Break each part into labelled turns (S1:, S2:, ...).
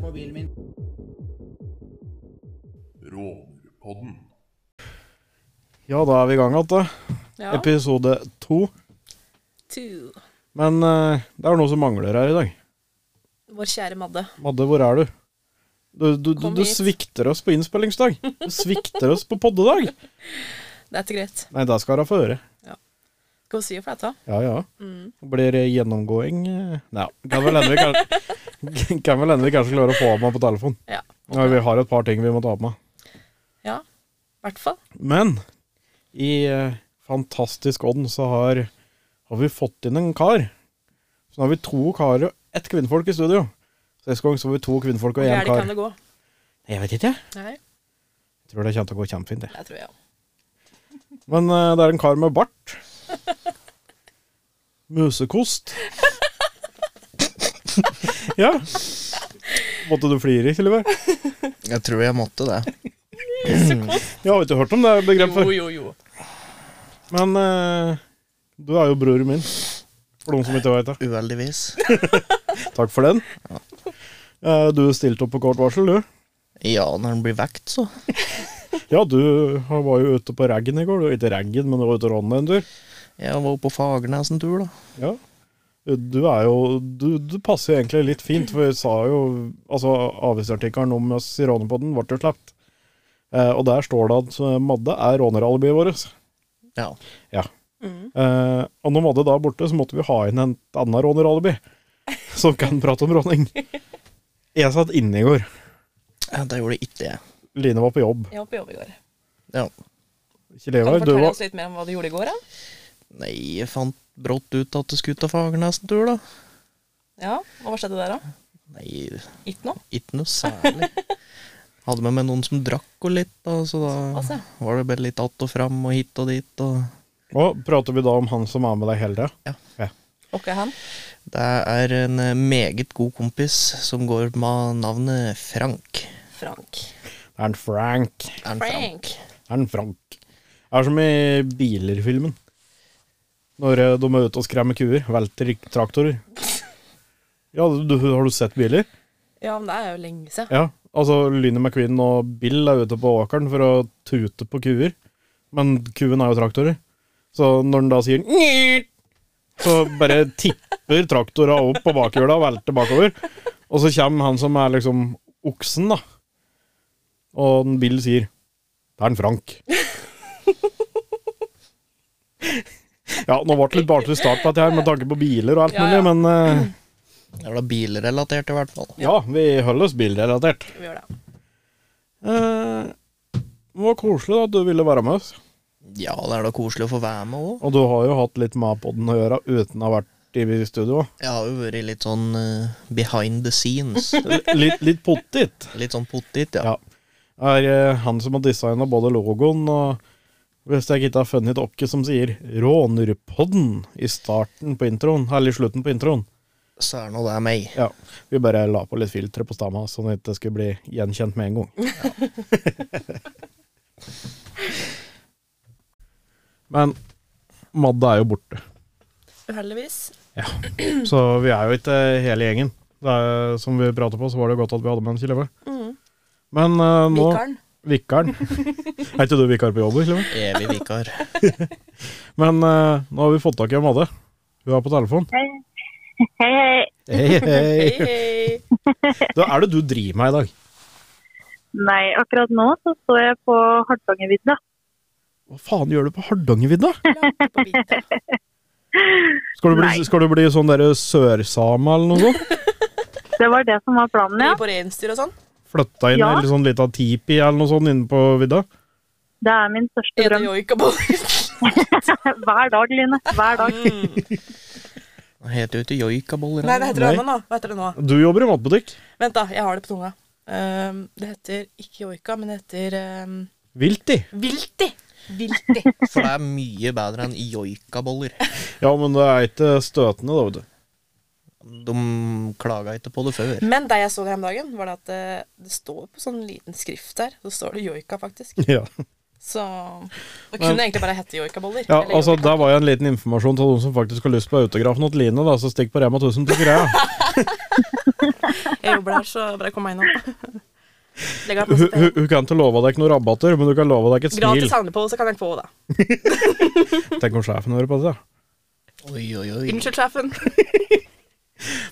S1: mobilen min.
S2: Rånerpodden.
S3: Ja, da er vi i gang igjen, da.
S4: Ja.
S3: Episode to.
S4: To.
S3: Men eh, det er noe som mangler her i dag.
S4: Vår kjære Madde.
S3: Madde, hvor er du? Du, du, du,
S4: Kom
S3: du
S4: hit.
S3: svikter oss på innspillingsdag. Du svikter oss på poddedag.
S4: Det er ikke greit.
S3: Nei, det skal hun få høre.
S4: Skal vi si for dette?
S3: Ja, ja.
S4: Mm.
S3: Blir det gjennomgåing eh, Nei, kan vel hende vi, kan, kan vel hende vi kanskje klarer å få av meg på telefon.
S4: Ja.
S3: Nei, vi har et par ting vi må ta av meg.
S4: Ja. I hvert fall.
S3: Men i eh, fantastisk ånd så har, har vi fått inn en kar. Så nå har vi to karer og ett kvinnfolk i studio. Sist gang så var vi to kvinnfolk og
S4: Hvor
S3: én
S4: gærent
S3: kar.
S4: kan det gå?
S3: Jeg vet ikke, jeg.
S4: Nei,
S3: Tror det kommer til å gå kjempefint. det.
S4: det tror jeg òg.
S3: Men eh, det er en kar med bart. Musekost. ja. Måtte du flire, Silver?
S1: Jeg tror jeg måtte det.
S3: Jeg har ikke hørt om det begrepet
S4: Jo,
S3: før.
S4: jo, jo.
S3: Men eh, du er jo broren min. For noen som ikke vet det.
S1: Uheldigvis.
S3: Takk for den. Eh, du stilte opp på kort varsel, du.
S1: Ja, når den blir vekt, så.
S3: Ja, du var jo ute på raggen i går. Du var ikke raggen, men du var ute og rånne en tur.
S1: Jeg var oppe på Fagernes en tur, da.
S3: Ja. Eh, Du er jo du, du passer jo egentlig litt fint, for jeg sa jo Altså, avisartikkelen om oss i Rånepodden ble jo sluppet. Eh, og der står det at eh, Madde er råneralibiet vårt.
S1: Ja.
S4: Mm.
S3: Eh, og når Madde da er borte, så måtte vi ha inn en annen råneralibi som kan prate om råning. Jeg satt inne i går.
S1: ja det gjorde ikke jeg.
S3: Line var på jobb.
S4: Jeg var på jobb i går.
S1: Ja.
S3: Kjell
S4: Kan du
S3: Evar, du
S4: fortelle
S3: var
S4: oss litt mer om hva du gjorde i går? da?
S1: Nei, jeg fant brått ut at jeg skulle ta Fagernes en tur, da.
S4: Ja, og Hva skjedde der, da?
S1: Nei,
S4: Ikke noe?
S1: ikke noe særlig. Hadde med meg noen som drakk og litt, da, så da
S4: Altså.
S1: var det bare litt att og fram og hit og dit. og...
S3: Og prater vi da om han som er med deg hele tida?
S4: Ok, han.
S1: Det er en eh, meget god kompis som går med navnet Frank.
S4: Frank.
S3: Er han Frank?
S1: Er han
S4: Frank.
S3: Er han Frank? Det er som i bilerfilmen. Når eh, de er ute og skremmer kuer. Velter i traktorer. Ja, du, har du sett biler?
S4: Ja, men det er jo lenge siden.
S3: Ja. Altså, Lynet McQueen og Bill er ute på åkeren for å tute på kuer. Men kuen er jo traktorer. Så når den da sier «Nyet», så bare tipper traktora opp på bakhjula og velter bakover. Og så kommer han som er liksom oksen, da. Og den Bill sier Det er en Frank. ja, nå ble det litt barnslig start på dette her med tanke på biler og alt
S4: Ja,
S3: mulig,
S4: ja.
S3: men eh,
S1: Det er da bilrelatert, i hvert fall.
S3: ja, vi holder oss bilrelatert.
S4: Vi gjør det.
S3: Eh, det var koselig da, at du ville være med oss.
S1: Ja, det er da koselig å få være med òg.
S3: Og du har jo hatt litt med på den å gjøre uten å ha vært i studio.
S1: Jeg har jo vært litt sånn eh, behind the scenes.
S3: L- Litt, litt pottit.
S1: Litt sånn pottit, ja.
S3: Ja. Er eh, han som har designa både logoen og Hvis jeg ikke har funnet Okke som sier 'Rånerpodden' i starten på introen, eller i slutten på introen.
S1: Så er nå det meg.
S3: Ja, Vi bare la på litt filtre på stamma, sånn at det skulle bli gjenkjent med en gang. Men Madde er jo borte.
S4: Uheldigvis.
S3: Mm. Så vi er jo ikke hele gjengen. Det er, som vi prater på, så var det godt at vi hadde med en Kileve.
S4: Mm.
S3: Men eh, nå
S4: Vikaren.
S3: Vikaren. er ikke du vikar på jobb, Kileve?
S1: Evig vikar.
S3: Men eh, nå har vi fått tak i Madde. Hun er på telefon.
S5: Hei, hei.
S3: Hei,
S4: Hei,
S3: hei.
S4: hei.
S3: Da er det du driver med i dag.
S5: Nei, akkurat nå så står jeg på Hardangervidda.
S3: Hva faen gjør du på Hardangervidda?
S4: Langt på vidda.
S3: Skal, du
S5: Nei.
S3: bli- skal du bli sånn derre sørsame eller noe sånt?
S5: Det var det som var planen,
S4: Mye
S5: ja.
S4: på reinsdyr og sånn.
S3: Flytta inn i
S5: Ja.
S3: en sånn lita tipi eller noe sånt inne på vidda?
S5: Det er min største
S4: Ede
S5: drøm.
S4: joikaboller.
S5: Hver dag, Line. Hver dag.
S4: Mm.
S1: Det heter jo ikke joikaboller.
S4: Nei, det heter
S3: Nei.
S4: det nå. Hva heter det nå?
S3: Du jobber i matbutikk.
S4: Vent, da. Jeg har det på tunga. Ehm, det heter ikke joika, men det heter ehm,
S3: Vilti.
S4: vilti. Vilti.
S1: For det er mye bedre enn joikaboller.
S3: Ja, men det er ikke støtende, da, vet du.
S1: De klaga ikke på det før.
S4: Men det eh, jeg så der om dagen, var det at det, det står på sånn liten skrift der. Så står det joika, faktisk.
S3: Ja.
S4: Så Det
S3: Men-
S4: kunne egentlig bare hete joikaboller.
S3: Ja,
S4: eller
S3: altså,
S4: joikaker.
S3: Der var jo en liten informasjon til de som faktisk har lyst på autografen til Line. da, Så stikk på Rema 1000 på greia.
S4: Jeg jobber der, så bare kom meg innom. Legg av
S3: Hun
S4: posten.
S3: hun- hun kan ikke love deg ikke noen rabatter, men hun kan love deg ikke et smil.
S4: Gratis handlepål, så kan jeg få det.
S3: Tenk om sjefen hører på det. da.
S1: Oi, oi, oi.
S4: Unnskyld, sjefen.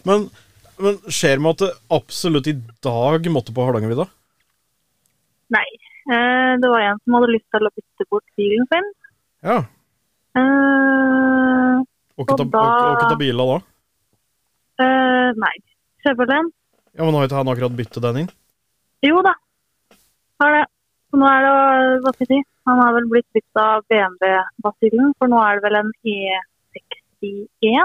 S3: Men, men skjer det med at det absolutt i dag måtte på Hardangervidda?
S5: Nei. Eh, Det var en som hadde lyst til å bytte bort bilen sin.
S3: Ja.
S5: Eh,
S3: Og ikke ta,
S5: Og da-
S3: og- og ikke ta bilen da?
S5: eh, nei. Chevrolet?
S3: Ja, Men har ikke han akkurat byttet den inn?
S5: Jo da, har det. Så nå er det å- Hva skal jeg si? Han har vel blitt bitt av BMW-basillen, for nå er det vel en E E61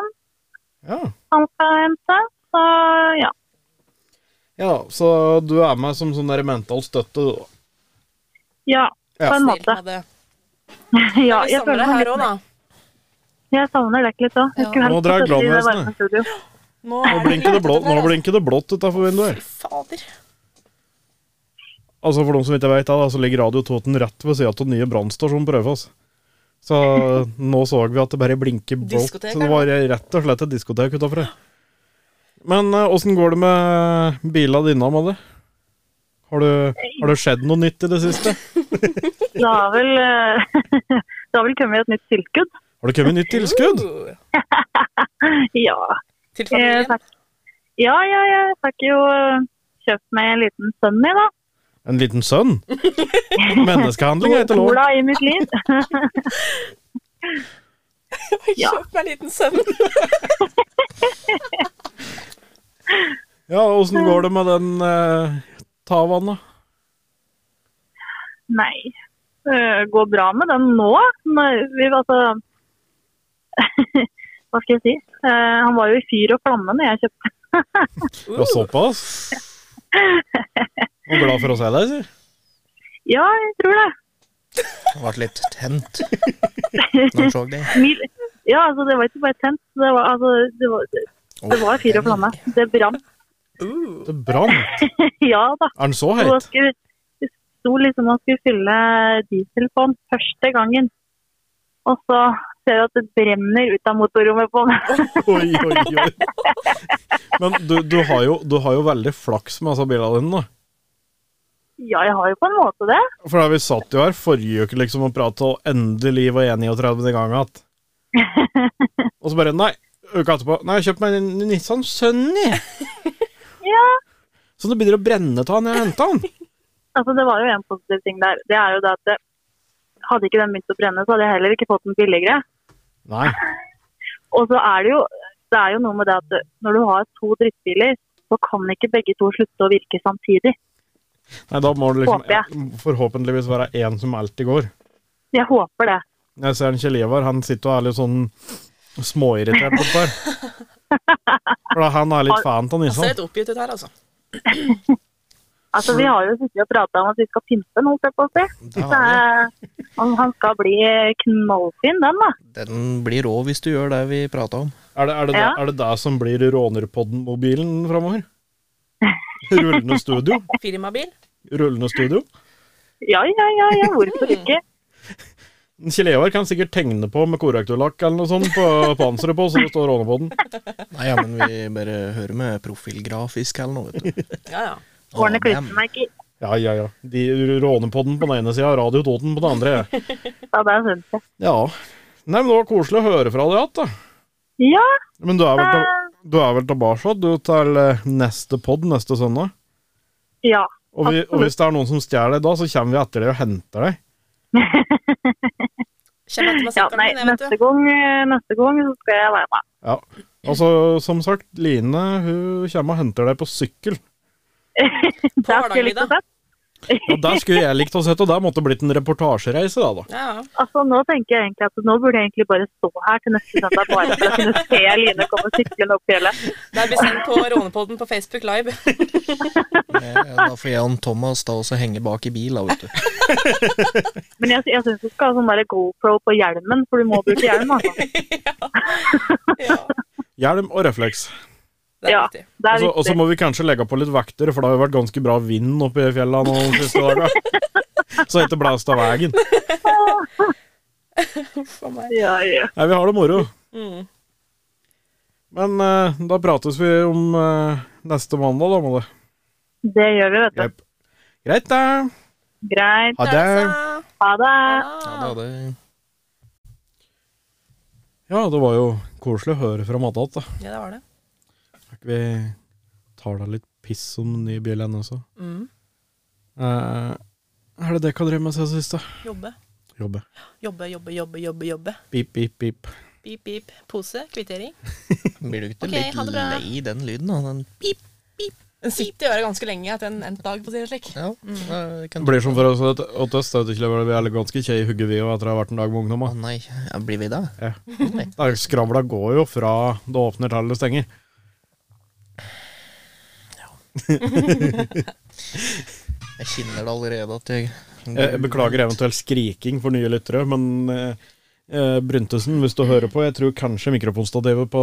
S3: Ja.
S5: han skal hente. Så ja.
S3: ja. Så du er med som sånn der mental støtte, du, da.
S5: Ja,
S3: Ja.
S5: på en
S4: Snill
S5: måte.
S4: med det.
S5: Ja,
S4: Vi
S5: jeg
S4: savner
S5: føler
S4: deg
S5: meg
S4: her òg,
S5: litt
S4: da.
S5: Jeg savner dere litt òg.
S4: Ja.
S3: Nå drar glamhøsten, du.
S4: Nå,
S3: Nå blinker det blått,
S4: altså-
S3: nå blinker det blått utenfor vinduet. her.
S4: Fader.
S3: Altså For de som ikke vet, da, så ligger Radio Toten rett ved siden av den nye brannstasjonen på Raufoss. Så nå så vi at det bare blinker blått.
S4: Diskotek,
S3: Så det var rett og slett et diskotek utafor. Men åssen går det med bila dine, Amalie? Har, du, har det skjedd noe nytt i det siste?
S5: Det har vel, eh, det har vel kommet et nytt tilskudd.
S3: Har det kommet nytt tilskudd?
S4: Uh,
S5: Ja.
S4: til
S5: Jeg,
S4: familien.
S5: fikk, ja, ja, jeg fikk jo eh, kjøpt meg en liten sønn i, da.
S3: En liten sønn? Menneskehandling er ikke lov.
S5: Ola i mitt liv. Ja.
S4: Kjøp meg en liten søvn.
S3: Ja, Åssen går det med den eh, tavan, da?
S5: Nei. Det går bra med den nå. Nei, Vi, altså, hva skal jeg si? Eh, han var jo i fyr og flamme når jeg kjøpte.
S3: Ja, såpass? Og glad for å se deg, si.
S5: Ja, jeg tror det.
S1: Han ble litt tent når han så det.
S5: Mil ja, altså, det var ikke bare tent. Det var, altså, det var, det, det var fyr og flamme. Det brant.
S4: Uh,
S3: Det brant.
S5: ja da.
S3: Er den så
S5: Så da
S3: høyt?
S5: skulle, det sto liksom og skulle fylle diesel på den første gangen. Og så ser du at det brenner ut av motorrommet på den.
S3: Oi, oi, oi. Men du, du, har jo, du har jo veldig flaks med disse bilene dine. da.
S5: Ja, jeg har jo på en måte det.
S3: For da vi satt jo her forrige uke liksom og prata, og endelig var jeg 39. gang igjen. Og så bare Nei, uka etterpå Nei, jeg kjøpte meg en Nissan Sunny.
S5: Ja.
S3: Så det begynner å brenne av når jeg henta den.
S5: Altså, det var jo en positiv ting der. Det er jo det at det, hadde ikke den begynt å brenne, så hadde jeg heller ikke fått den billigere.
S3: Nei.
S5: Og så er det jo, det er jo noe med det at det- når du har to drittbiler, så kan ikke begge to slutte å virke samtidig.
S3: Nei, da må det
S5: Håper jeg.
S3: liksom forhåpentligvis være én som alltid går.
S5: Jeg håper det.
S3: Jeg ser en Kjell Ivar, han sitter og er litt sånn småirritert bortpå her. For da han er litt fan av
S4: han ser
S3: Nissan.
S4: litt oppgitt ut her, altså.
S5: Altså, vi har jo sittet og pratet om at vi skal pimpe den, holdt jeg på å si.
S1: Det
S5: Så,
S1: har vi.
S5: eh, han- han skal bli knallfin, den da.
S1: Den blir rå hvis du gjør det vi prata om.
S3: Er det, er, det,
S5: Ja.
S3: det- er det det som blir Rånerpodden-mobilen framover? Rullende studio?
S4: Firmabil.
S3: Rullende studio?
S5: Ja, ja, ja, ja, hvorfor ikke?
S3: Kjell Ivar kan sikkert tegne på med koraktorlakk eller noe sånt på panseret på, så det står Rånerpodden.
S1: Nei, ja, men vi bare hører med profilgrafisk eller noe, vet du.
S4: Ja, ja.
S1: Å,
S5: Ordne
S1: dem.
S5: klistremerker.
S3: Ja, ja, ja. De Rånerpodden på den ene sida, Radio Toten på den andre.
S5: Ja, det synes jeg.
S3: Ja. Nei, men Det var koselig å høre fra deg igjen, da.
S5: Ja,
S3: Men du er vel, til- du er vel tilbake du, til eh, neste pod neste søndag?
S5: ja.
S3: Og, vi, og
S5: Absolutt.
S3: hvis det er noen som stjeler deg da, så kommer vi etter deg og henter deg.
S4: Kjem etter meg
S5: ja
S4: sekken
S5: nei,
S4: min, jeg, vet
S5: neste gang, eh, neste gang så skal jeg være med.
S3: Ja. Altså, som sagt, Line hun kommer og henter deg på sykkel.
S5: Det skulle jeg
S4: Hardangervidda.
S5: likt å se.
S3: Og der skulle jeg likt å sett, og der måtte det blitt en reportasjereise da, da.
S4: du. Ja, ja.
S5: Altså, nå tenker jeg egentlig at nå burde jeg egentlig bare stå her til neste søndag bare for å kunne se Line komme syklende opp fjellet.
S4: Det blir sendt på Rånepodden på Facebook Live.
S1: eh, Ja, Da får jeg og Thomas da også henge bak i bil, da, vet du.
S5: Men jeg, jeg syns du skal ha sånn der GoPro på hjelmen, for du må bruke hjelm. Altså.
S4: Ja,
S3: Hjelm og refleks.
S4: det er
S5: Ja,
S4: riktig.
S5: det er
S1: Altså,
S3: Og så- Og så
S5: viktig.
S3: må vi kanskje legge på litt vekter, for det har jo vært ganske bra vind oppe i fjellene nå de siste dagene. Så heter Blast av veien.
S4: Huff a meg.
S5: Ja, ja.
S3: Nei, vi har det moro.
S4: Mm.
S3: Men eh, da prates vi om eh, neste mandag, da, Molde.
S5: Det gjør vi, vet du.
S3: Jep. Greit, da.
S5: Greit.
S3: Ha det.
S4: Altså.
S5: Ha det.
S1: Ja, det, det.
S3: Ja, det var jo koselig å høre fra Madda igjen, da.
S4: Ja, det var det.
S3: At Vi tar da litt piss om den nye bilen også.
S4: Mm.
S3: Eh, er det det dere har drevet med siden sist, da?
S4: Jobbe.
S3: Jobbe.
S4: Jobbe, jobbe, jobbe, jobbe. jobbe.
S3: Pip, pip, pip.
S4: Pip, pip. Pose. Kvittering.
S1: Blir du ikke
S4: Ok, ha det
S1: litt
S4: bra.
S1: lei den lyden? da? Den,
S4: Den sitter i øret ganske lenge etter en endt dag, på å si det slik.
S1: ja, jeg
S3: Det
S1: kan-
S3: blir som for oss at at oss, da, vet du ikke, vi er ganske kjei i hugget, vi, og etter å ha vært en dag med
S1: Å
S3: ungdomma.
S1: nei, ja, blir vi da?
S3: Ja. Da, Skravla går jo fra det åpner til det stenger.
S1: Jeg kjenner det allerede at jeg
S3: Jeg jeg Eh, beklager eventuell skriking for nye lyttere, men eh, eh, Bryntesen, hvis du hører på, jeg tror kanskje mikrofonstativet på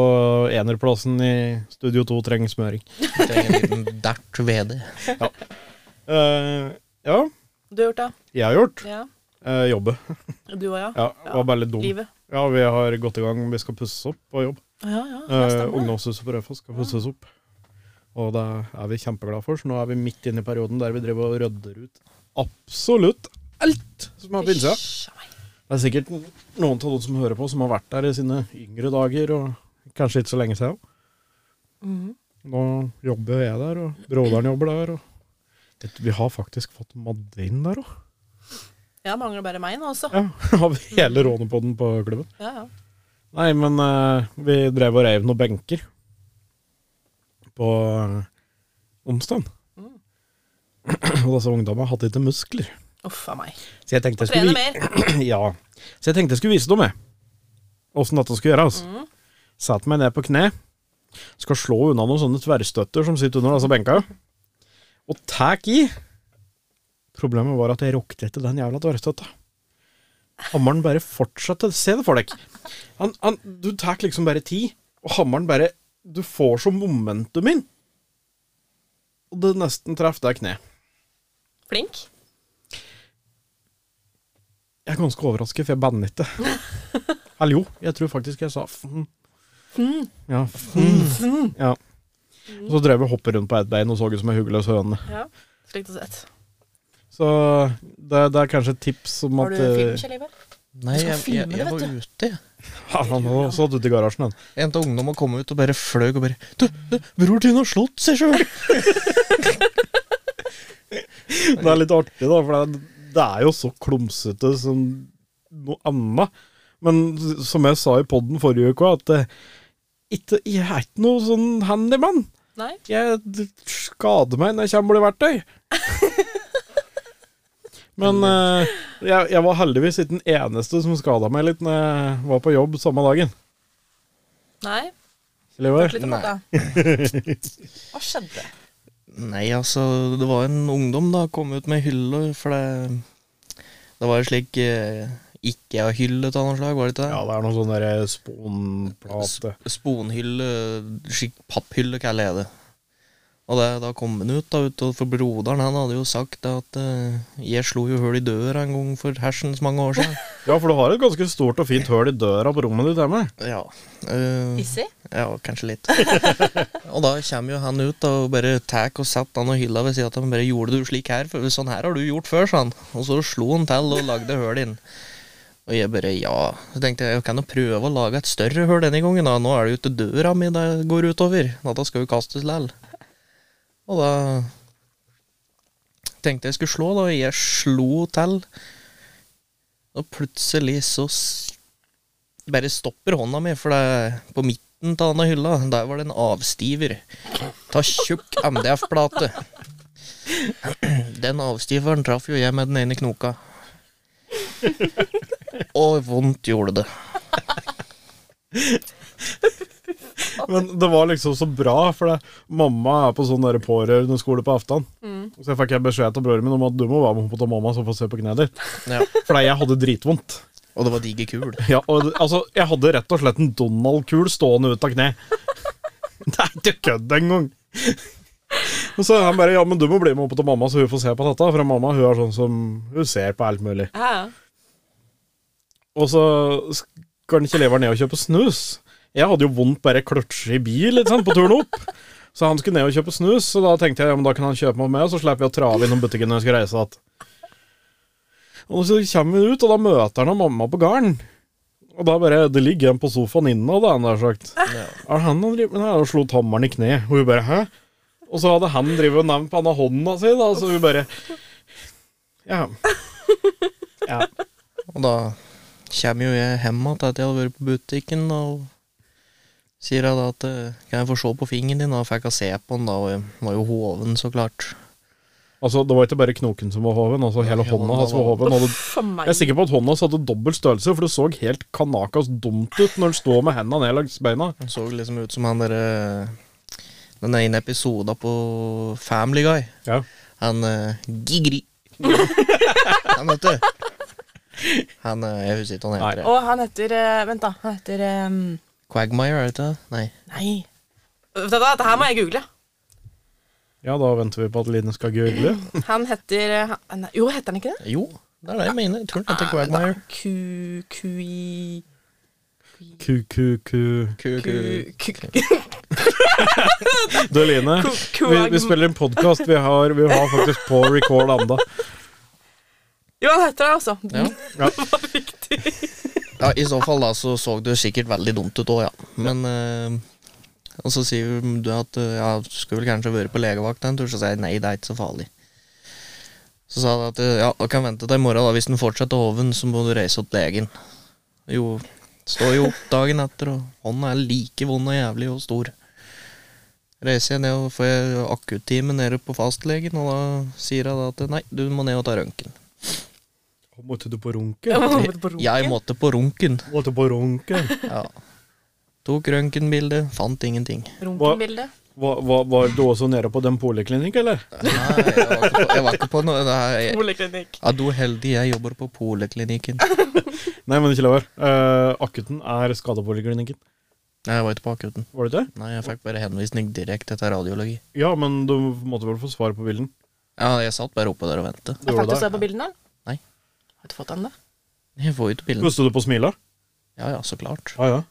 S3: enerplassen i Studio 2 trenger smøring.
S1: trenger en liten dert ved det.
S3: Eh, ja,
S4: Du har gjort det?
S3: jeg har gjort.
S4: Ja.
S3: Eh, jobbe.
S4: Du òg, ja.
S3: Ja, var bare litt dum.
S4: Livet.
S3: Ja, vi har gått i gang. Vi skal pusses opp på jobb.
S4: Å, Ja, ja. ja,
S3: Eh,
S4: stemmer det.
S3: ungdomshuset på Raufoss skal pusses opp. Og det er vi kjempeglade for, så nå er vi midt inne i perioden der vi driver og rydder ut absolutt alt som er på innsida.
S4: Hysj, nei.
S3: Det er sikkert noen av de som hører på, som har vært der i sine yngre dager, og kanskje ikke så lenge siden.
S4: Mhm.
S3: Nå jobber jeg der, og broderen jobber der. Og Vet du, vi har faktisk fått Madde inn der òg.
S4: Ja, det mangler bare meg nå også.
S3: Ja, av hele Rånepodden på klubben.
S4: Ja, ja.
S3: Nei, men eh, vi drev og reiv noen benker på eh, onsdag.
S4: Mm.
S3: Og disse ungdommene hadde ikke muskler.
S4: Uff a meg.
S3: Så jeg tenkte jeg skulle
S4: Trene
S3: vi-
S4: mer.
S3: ja. Så jeg tenkte jeg skulle vise dem jeg. Åssen dette skulle gjøres. Satt meg ned på kne. Skal slå unna noen sånne tverrstøtter som sitter under disse benka. Og tak i. Problemet var at jeg rokte etter den jævla tverrstøtta. Hammeren bare fortsatte. Se det for deg. Han, han, du tar liksom bare ti, og hammeren bare Du får så momentum inn. Og det nesten traff deg kne.
S4: Flink.
S3: Jeg er ganske overrasket, for jeg bannet ikke. Eller jo, jeg tror faktisk jeg sa fn. Ja, fn. Ja. Og så drev vi og hoppet rundt på ett bein og så ut som ei hugløs høne.
S4: Ja. Slikt og sett.
S3: Så det, det er kanskje et tips om
S4: Har
S3: at
S4: du
S3: eh,
S4: film, Kjell Ivar?
S1: Nei,
S4: skal
S1: jeg, jeg,
S4: filme det,
S1: jeg var
S4: vet du.
S1: ute. jeg.
S3: ja, Han har også hatt ute i garasjen, han.
S1: En av ungdommene kom ut og bare fløy og bare Du, du bror din har slått seg sjøl!
S3: Det er litt artig, da, for det, er- det er jo så klumsete som noe annet. Men s- som jeg sa i poden forrige uke, at eh, ikke, jeg er ikke noe sånn handymann.
S4: Nei.
S3: Jeg d- skader meg når jeg kommer til verktøy. Men eh, jeg, jeg var heldigvis ikke den eneste som skada meg litt når jeg var på jobb samme dagen.
S4: Nei.
S3: Eller hva?
S4: Litt om
S1: Nei.
S4: dette. Hva skjedde?
S1: Nei, altså, det var en ungdom da, kom ut med hylle, for det, det var jo slik eh, IKEA-hylle av noe slag, var det ikke det?
S3: Ja, det er noe sånn der sponplate.
S1: Sp- Sponhylle, slik papphylle, kaller jeg det. Og det, da kom han ut, da, ut, og for broderen han hadde jo sagt det at eh, jeg slo jo hull i døra en gang for hersens mange år siden.
S3: Ja, for du har et ganske stort og fint høl i døra på rommet ditt hjemme.
S1: ja. eh,
S4: Issy?
S1: ja, kanskje litt. og da kommer jo han ut da, og bare tar og setter han og hylla ved siden av ham. Bare 'Gjorde du slik her? før? Sånn her har du gjort før', sa han. Og så slo han til og lagde hull inn. Og jeg bare ja. Så tenkte jeg jeg kan jo prøve å lage et større hull denne gangen. da. Nå er det jo til døra mi det går utover. Dette skal jo kastes likevel. Og da tenkte jeg skulle slå, da. og Jeg slo til. Og plutselig så s- bare stopper hånda mi, for det er på midten av denne hylla. Der var det en avstiver. Ta tjukk MDF-plate. Den avstiveren traff jo jeg med den ene knoka. Og vondt gjorde det.
S3: Men det var liksom så bra, for det, mamma er på sånn der pårørendeskole på aftan. Så jeg fikk jeg beskjed til broren min om at du må være med opp til mamma så får se på kneet ditt.
S1: Ja.
S3: Fordi jeg hadde dritvondt.
S1: Og det var diger kul.
S3: Ja, og, altså, jeg hadde rett og slett en Donald-kul stående ut av kne. Det er ikke kødd engang. Og så er han bare Ja, men du må bli med opp til mamma, så hun får se på dette. For mamma hun er sånn som Hun ser på alt mulig.
S6: Ja, ja.
S3: Og så skal han ikke leve ned og kjøpe snus. Jeg hadde jo vondt bare kløtsje i bil ikke sant, på turen opp. Så han skulle ned og kjøpe snus, så da tenkte jeg ja, men da kan han kjøpe meg med, og så slipper jeg å trave innom butikken når jeg skal reise igjen. Og så kommer vi ut, og da møter han og mamma på gården. Og da bare Det ligger en på sofaen inne, og det er han der sagt. Er det han han driver med? Nei, han slo tommelen i kne. Og hun bare hæ? Og så hadde han drevet og nevnt på han av hånda si, da, så hun bare Ja. ja.
S1: Og da kommer jo jeg hjem igjen etter at jeg hadde vært på butikken, og sier jeg da at eh, kan jeg få se på fingeren din, og fikk jeg se på den da, og jeg var jo hoven, så klart.
S3: Altså, det var ikke bare knoken som var hoven, altså hele
S1: Ja,
S3: hånda
S1: hånda
S3: hans var
S1: var-
S3: hoven. Og det,
S6: Uff, for meg.
S3: jeg er sikker på at hånda hans hadde dobbel størrelse, for det så helt kanakas dumt ut når han står med hendene ned langs beina.
S1: Han så liksom ut som han derre Den ene episoden på Family Guy.
S3: Ja.
S1: Han eh, Gigri. han, vet du. Han eh, Jeg husker ikke hva han heter.
S4: Og han heter eh, Vent, da. Han heter eh,
S6: ehm,
S1: Quagmire, er det ikke det? Nei.
S4: Nei.
S6: Vet du hva, Dette her må jeg google.
S3: Ja, da venter vi på at Line skal google.
S6: Han heter eh, han, nei, Jo, heter han ikke det?
S1: Jo, det er det jeg mener. Jeg tror han heter Quagmire.
S6: Ku... Kui...
S3: Ku-ku-ku.
S1: Ku-ku.
S6: Ku... ku-
S3: Du, Line,
S6: ku-
S3: vi, vi spiller en podkast. Vi, har- vi har faktisk på record anda.
S6: Jo, han heter det, altså.
S1: Ja. ja, I så fall da så så det sikkert veldig dumt ut òg, ja. Men eh, Og så sier du at eh, ja, du skulle vel kanskje vært på legevakt en tur, så sier jeg nei, det er ikke så farlig. Så sa han at eh, ja, du kan vente til i morgen, da. Hvis den fortsetter hoven, så må du reise til legen. Jo, står jo opp dagen etter, og hånda er like vond og jævlig og stor. Reiser jeg ned og får jeg akuttime nede på fastlegen, og da sier hun da at nei, du må ned og ta røntgen.
S3: Måtte du på runke?
S6: Ja.
S1: Jeg måtte på runken.
S3: Måtte på runke?
S1: Ja. Tok røntgenbilde, fant ingenting.
S6: Runkenbilde.
S3: Var, var, var du også nede på den poliklinikken, eller?
S1: Nei, jeg var ikke på, jeg var ikke på noe nei, jeg,
S6: Poleklinikk.
S1: ja, Du er heldig, jeg jobber på poliklinikken.
S3: Nei, men ikke lover. Uh, akutten er skadepoliklinikken.
S1: Nei, jeg var ikke på akutten.
S3: Var det ikke det?
S1: Nei, jeg fikk bare henvisning direkte til radiologi.
S3: Ja, men du måtte vel få svar på bilden.
S1: Ja, Jeg satt bare oppe der og ventet.
S3: Du gjorde
S6: Fikk du
S3: det.
S6: se på bildene?
S1: Nei.
S6: Har du fått den, da?
S1: Jeg får jo ikke bildet.
S3: Puster du på smila?
S1: Ja, ja, så klart.
S3: Ja, ja.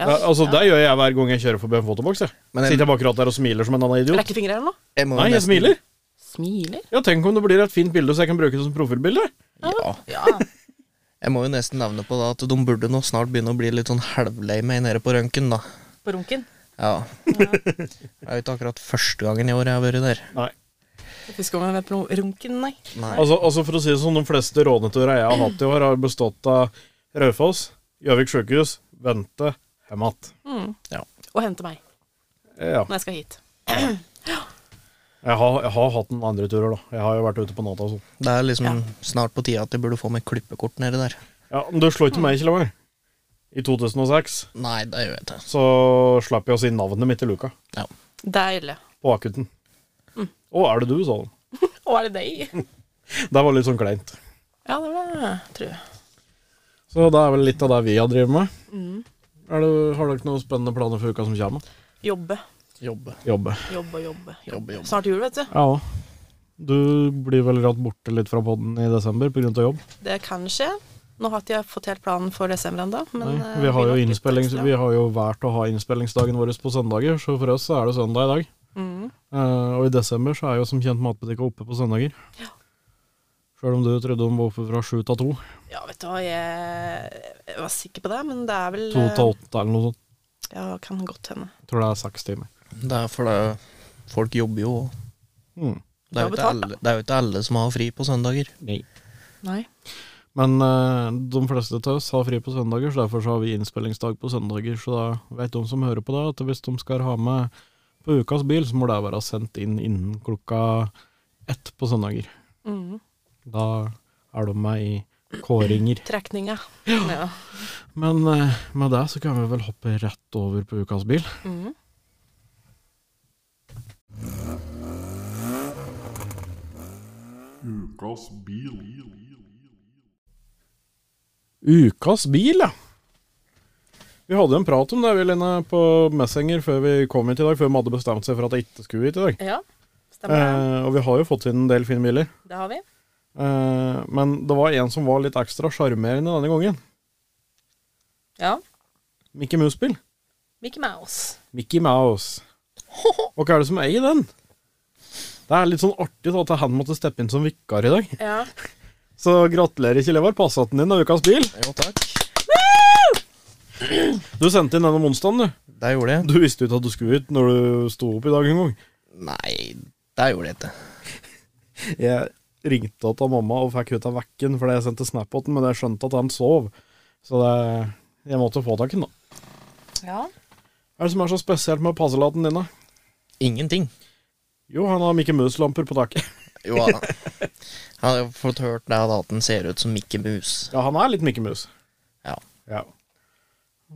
S3: Ja, altså, Det gjør jeg hver gang jeg kjører forbi en fotoboks. Jeg.
S1: Men jeg,
S3: Sitter jeg akkurat der og smiler som en annen idiot.
S6: Rekker fingre eller noe?
S1: jeg må jo
S3: Nei, jeg
S1: nesten-
S3: smiler.
S6: Smiler?
S3: Ja, Tenk om det blir et fint bilde, så jeg kan bruke det som profilbilde.
S1: Ja,
S6: Ja.
S1: jeg må jo nesten nevne på da at de burde nå snart begynne å bli litt sånn halvlei meg nede på røntgen, da.
S4: På runken.
S1: Ja. Det er jo ikke akkurat første gangen i år jeg har vært der.
S3: Nei.
S4: Fisk om jeg vet på noe runken, nei.
S1: Nei.
S3: Altså, altså For å si det sånn, de fleste råneturer jeg har hatt i år, har bestått av Raufoss, Gjøvik sjukehus, Vente, hjem igjen.
S6: Og hente meg
S3: Ja.
S6: når jeg skal hit.
S3: Jeg har, jeg har hatt noen andre turer, da. Jeg har jo vært ute på natta og sånn.
S1: Det er liksom snart på tide at jeg burde få meg klippekort nedi der.
S3: Ja, Men du slår ikke meg, Kjell Amar. I 2006
S1: Nei, det gjør jeg ikke.
S3: så slapp jeg å si navnet mitt til Luka,
S6: Deilig.
S3: på akutten. Å, er det du, sa han.
S6: Å, er det deg?
S3: Det var litt sånn kleint.
S6: Ja, det var det, tror jeg.
S3: Så det er vel litt av det vi har drevet med.
S6: Mm.
S3: Er det, har dere noen spennende planer for uka som kommer?
S6: Jobbe,
S1: Jobbe.
S3: Jobbe.
S6: jobbe, jobbe.
S1: Jobbe, jobbe.
S6: Snart jul, vet du.
S3: Ja. Du blir vel rett borte litt fra podden i desember pga. jobb?
S6: Det kan skje. Nå har ikke jeg fått helt planen for desember ennå, men
S3: Nei,
S6: eh,
S3: vi, har
S6: blir
S3: jo
S6: nok litt
S3: innspilling-
S6: ekstra.
S3: vi har jo valgt å ha innspillingsdagen vår på søndager, så for oss så er det søndag i dag.
S6: Mm.
S3: Eh, og i desember så er jo som kjent matbutikka oppe på søndager.
S6: Ja.
S3: Sjøl om du trodde de var oppe fra sju til to.
S6: Ja, vet du hva, jeg, jeg var sikker på det, men det er vel
S3: To
S6: eh,
S3: til åtte eller noe sånt.
S6: Ja, kan godt hende.
S3: Tror det er seks timer.
S1: Det er fordi folk jobber jo.
S3: Mm.
S1: Det er,
S6: Ja,
S1: jo ikke
S6: betalt, da.
S1: alle, det er jo ikke alle som har fri på søndager.
S6: Nei.
S3: Men eh, de fleste av oss har fri på søndager, så derfor så har vi innspillingsdag på søndager. Så da vet de som hører på det, at hvis de skal ha med på ukas bil, så må det være sendt inn innen klokka ett på søndager.
S6: Mm.
S3: Da er de med i kåringer.
S6: Trekninga. Ja.
S3: Men eh, med det så kan vi vel hoppe rett over på ukas bil.
S6: Mm.
S2: Ukas bil.
S3: Ukas bil, ja. Vi hadde en prat om det vi, Lene, på Messenger før vi kom hit i dag, før vi hadde bestemt seg for at jeg ikke skulle hit i dag.
S6: Ja, stemmer det.
S3: Eh, og vi har jo fått inn en del fine biler.
S6: Det har vi.
S3: Eh, men det var en som var litt ekstra sjarmerende denne gangen.
S6: Ja.
S3: Mickey Mouse-bil.
S6: Mickey Mouse.
S3: Mickey Mouse. Og hva er det som eier den? Det er litt sånn artig da, at han måtte steppe inn som vikar i dag.
S6: Ja.
S3: Så gratulerer, Kjell Ivar. Passaten din er ukas bil.
S1: Jo, takk.
S3: Du sendte inn den om onsdagen, du.
S1: Det gjorde jeg.
S3: Du visste jo ikke at du skulle ut når du sto opp i dag en gang.
S1: Nei, det gjorde jeg ikke.
S3: Jeg ringte til mamma og fikk henne til vekken fordi jeg sendte snap på den, men jeg skjønte at han sov. Så det, jeg måtte få tak i den, da.
S6: Ja.
S3: Hva er det som er så spesielt med passelaten din, da?
S1: Ingenting.
S3: Jo, han har Mickey Mouse-lamper på taket.
S1: Jo da. Jeg har fått hørt det at den ser ut som Mikke Mus.
S3: Ja, han er litt Mickey Mouse.
S1: Ja.
S3: ja.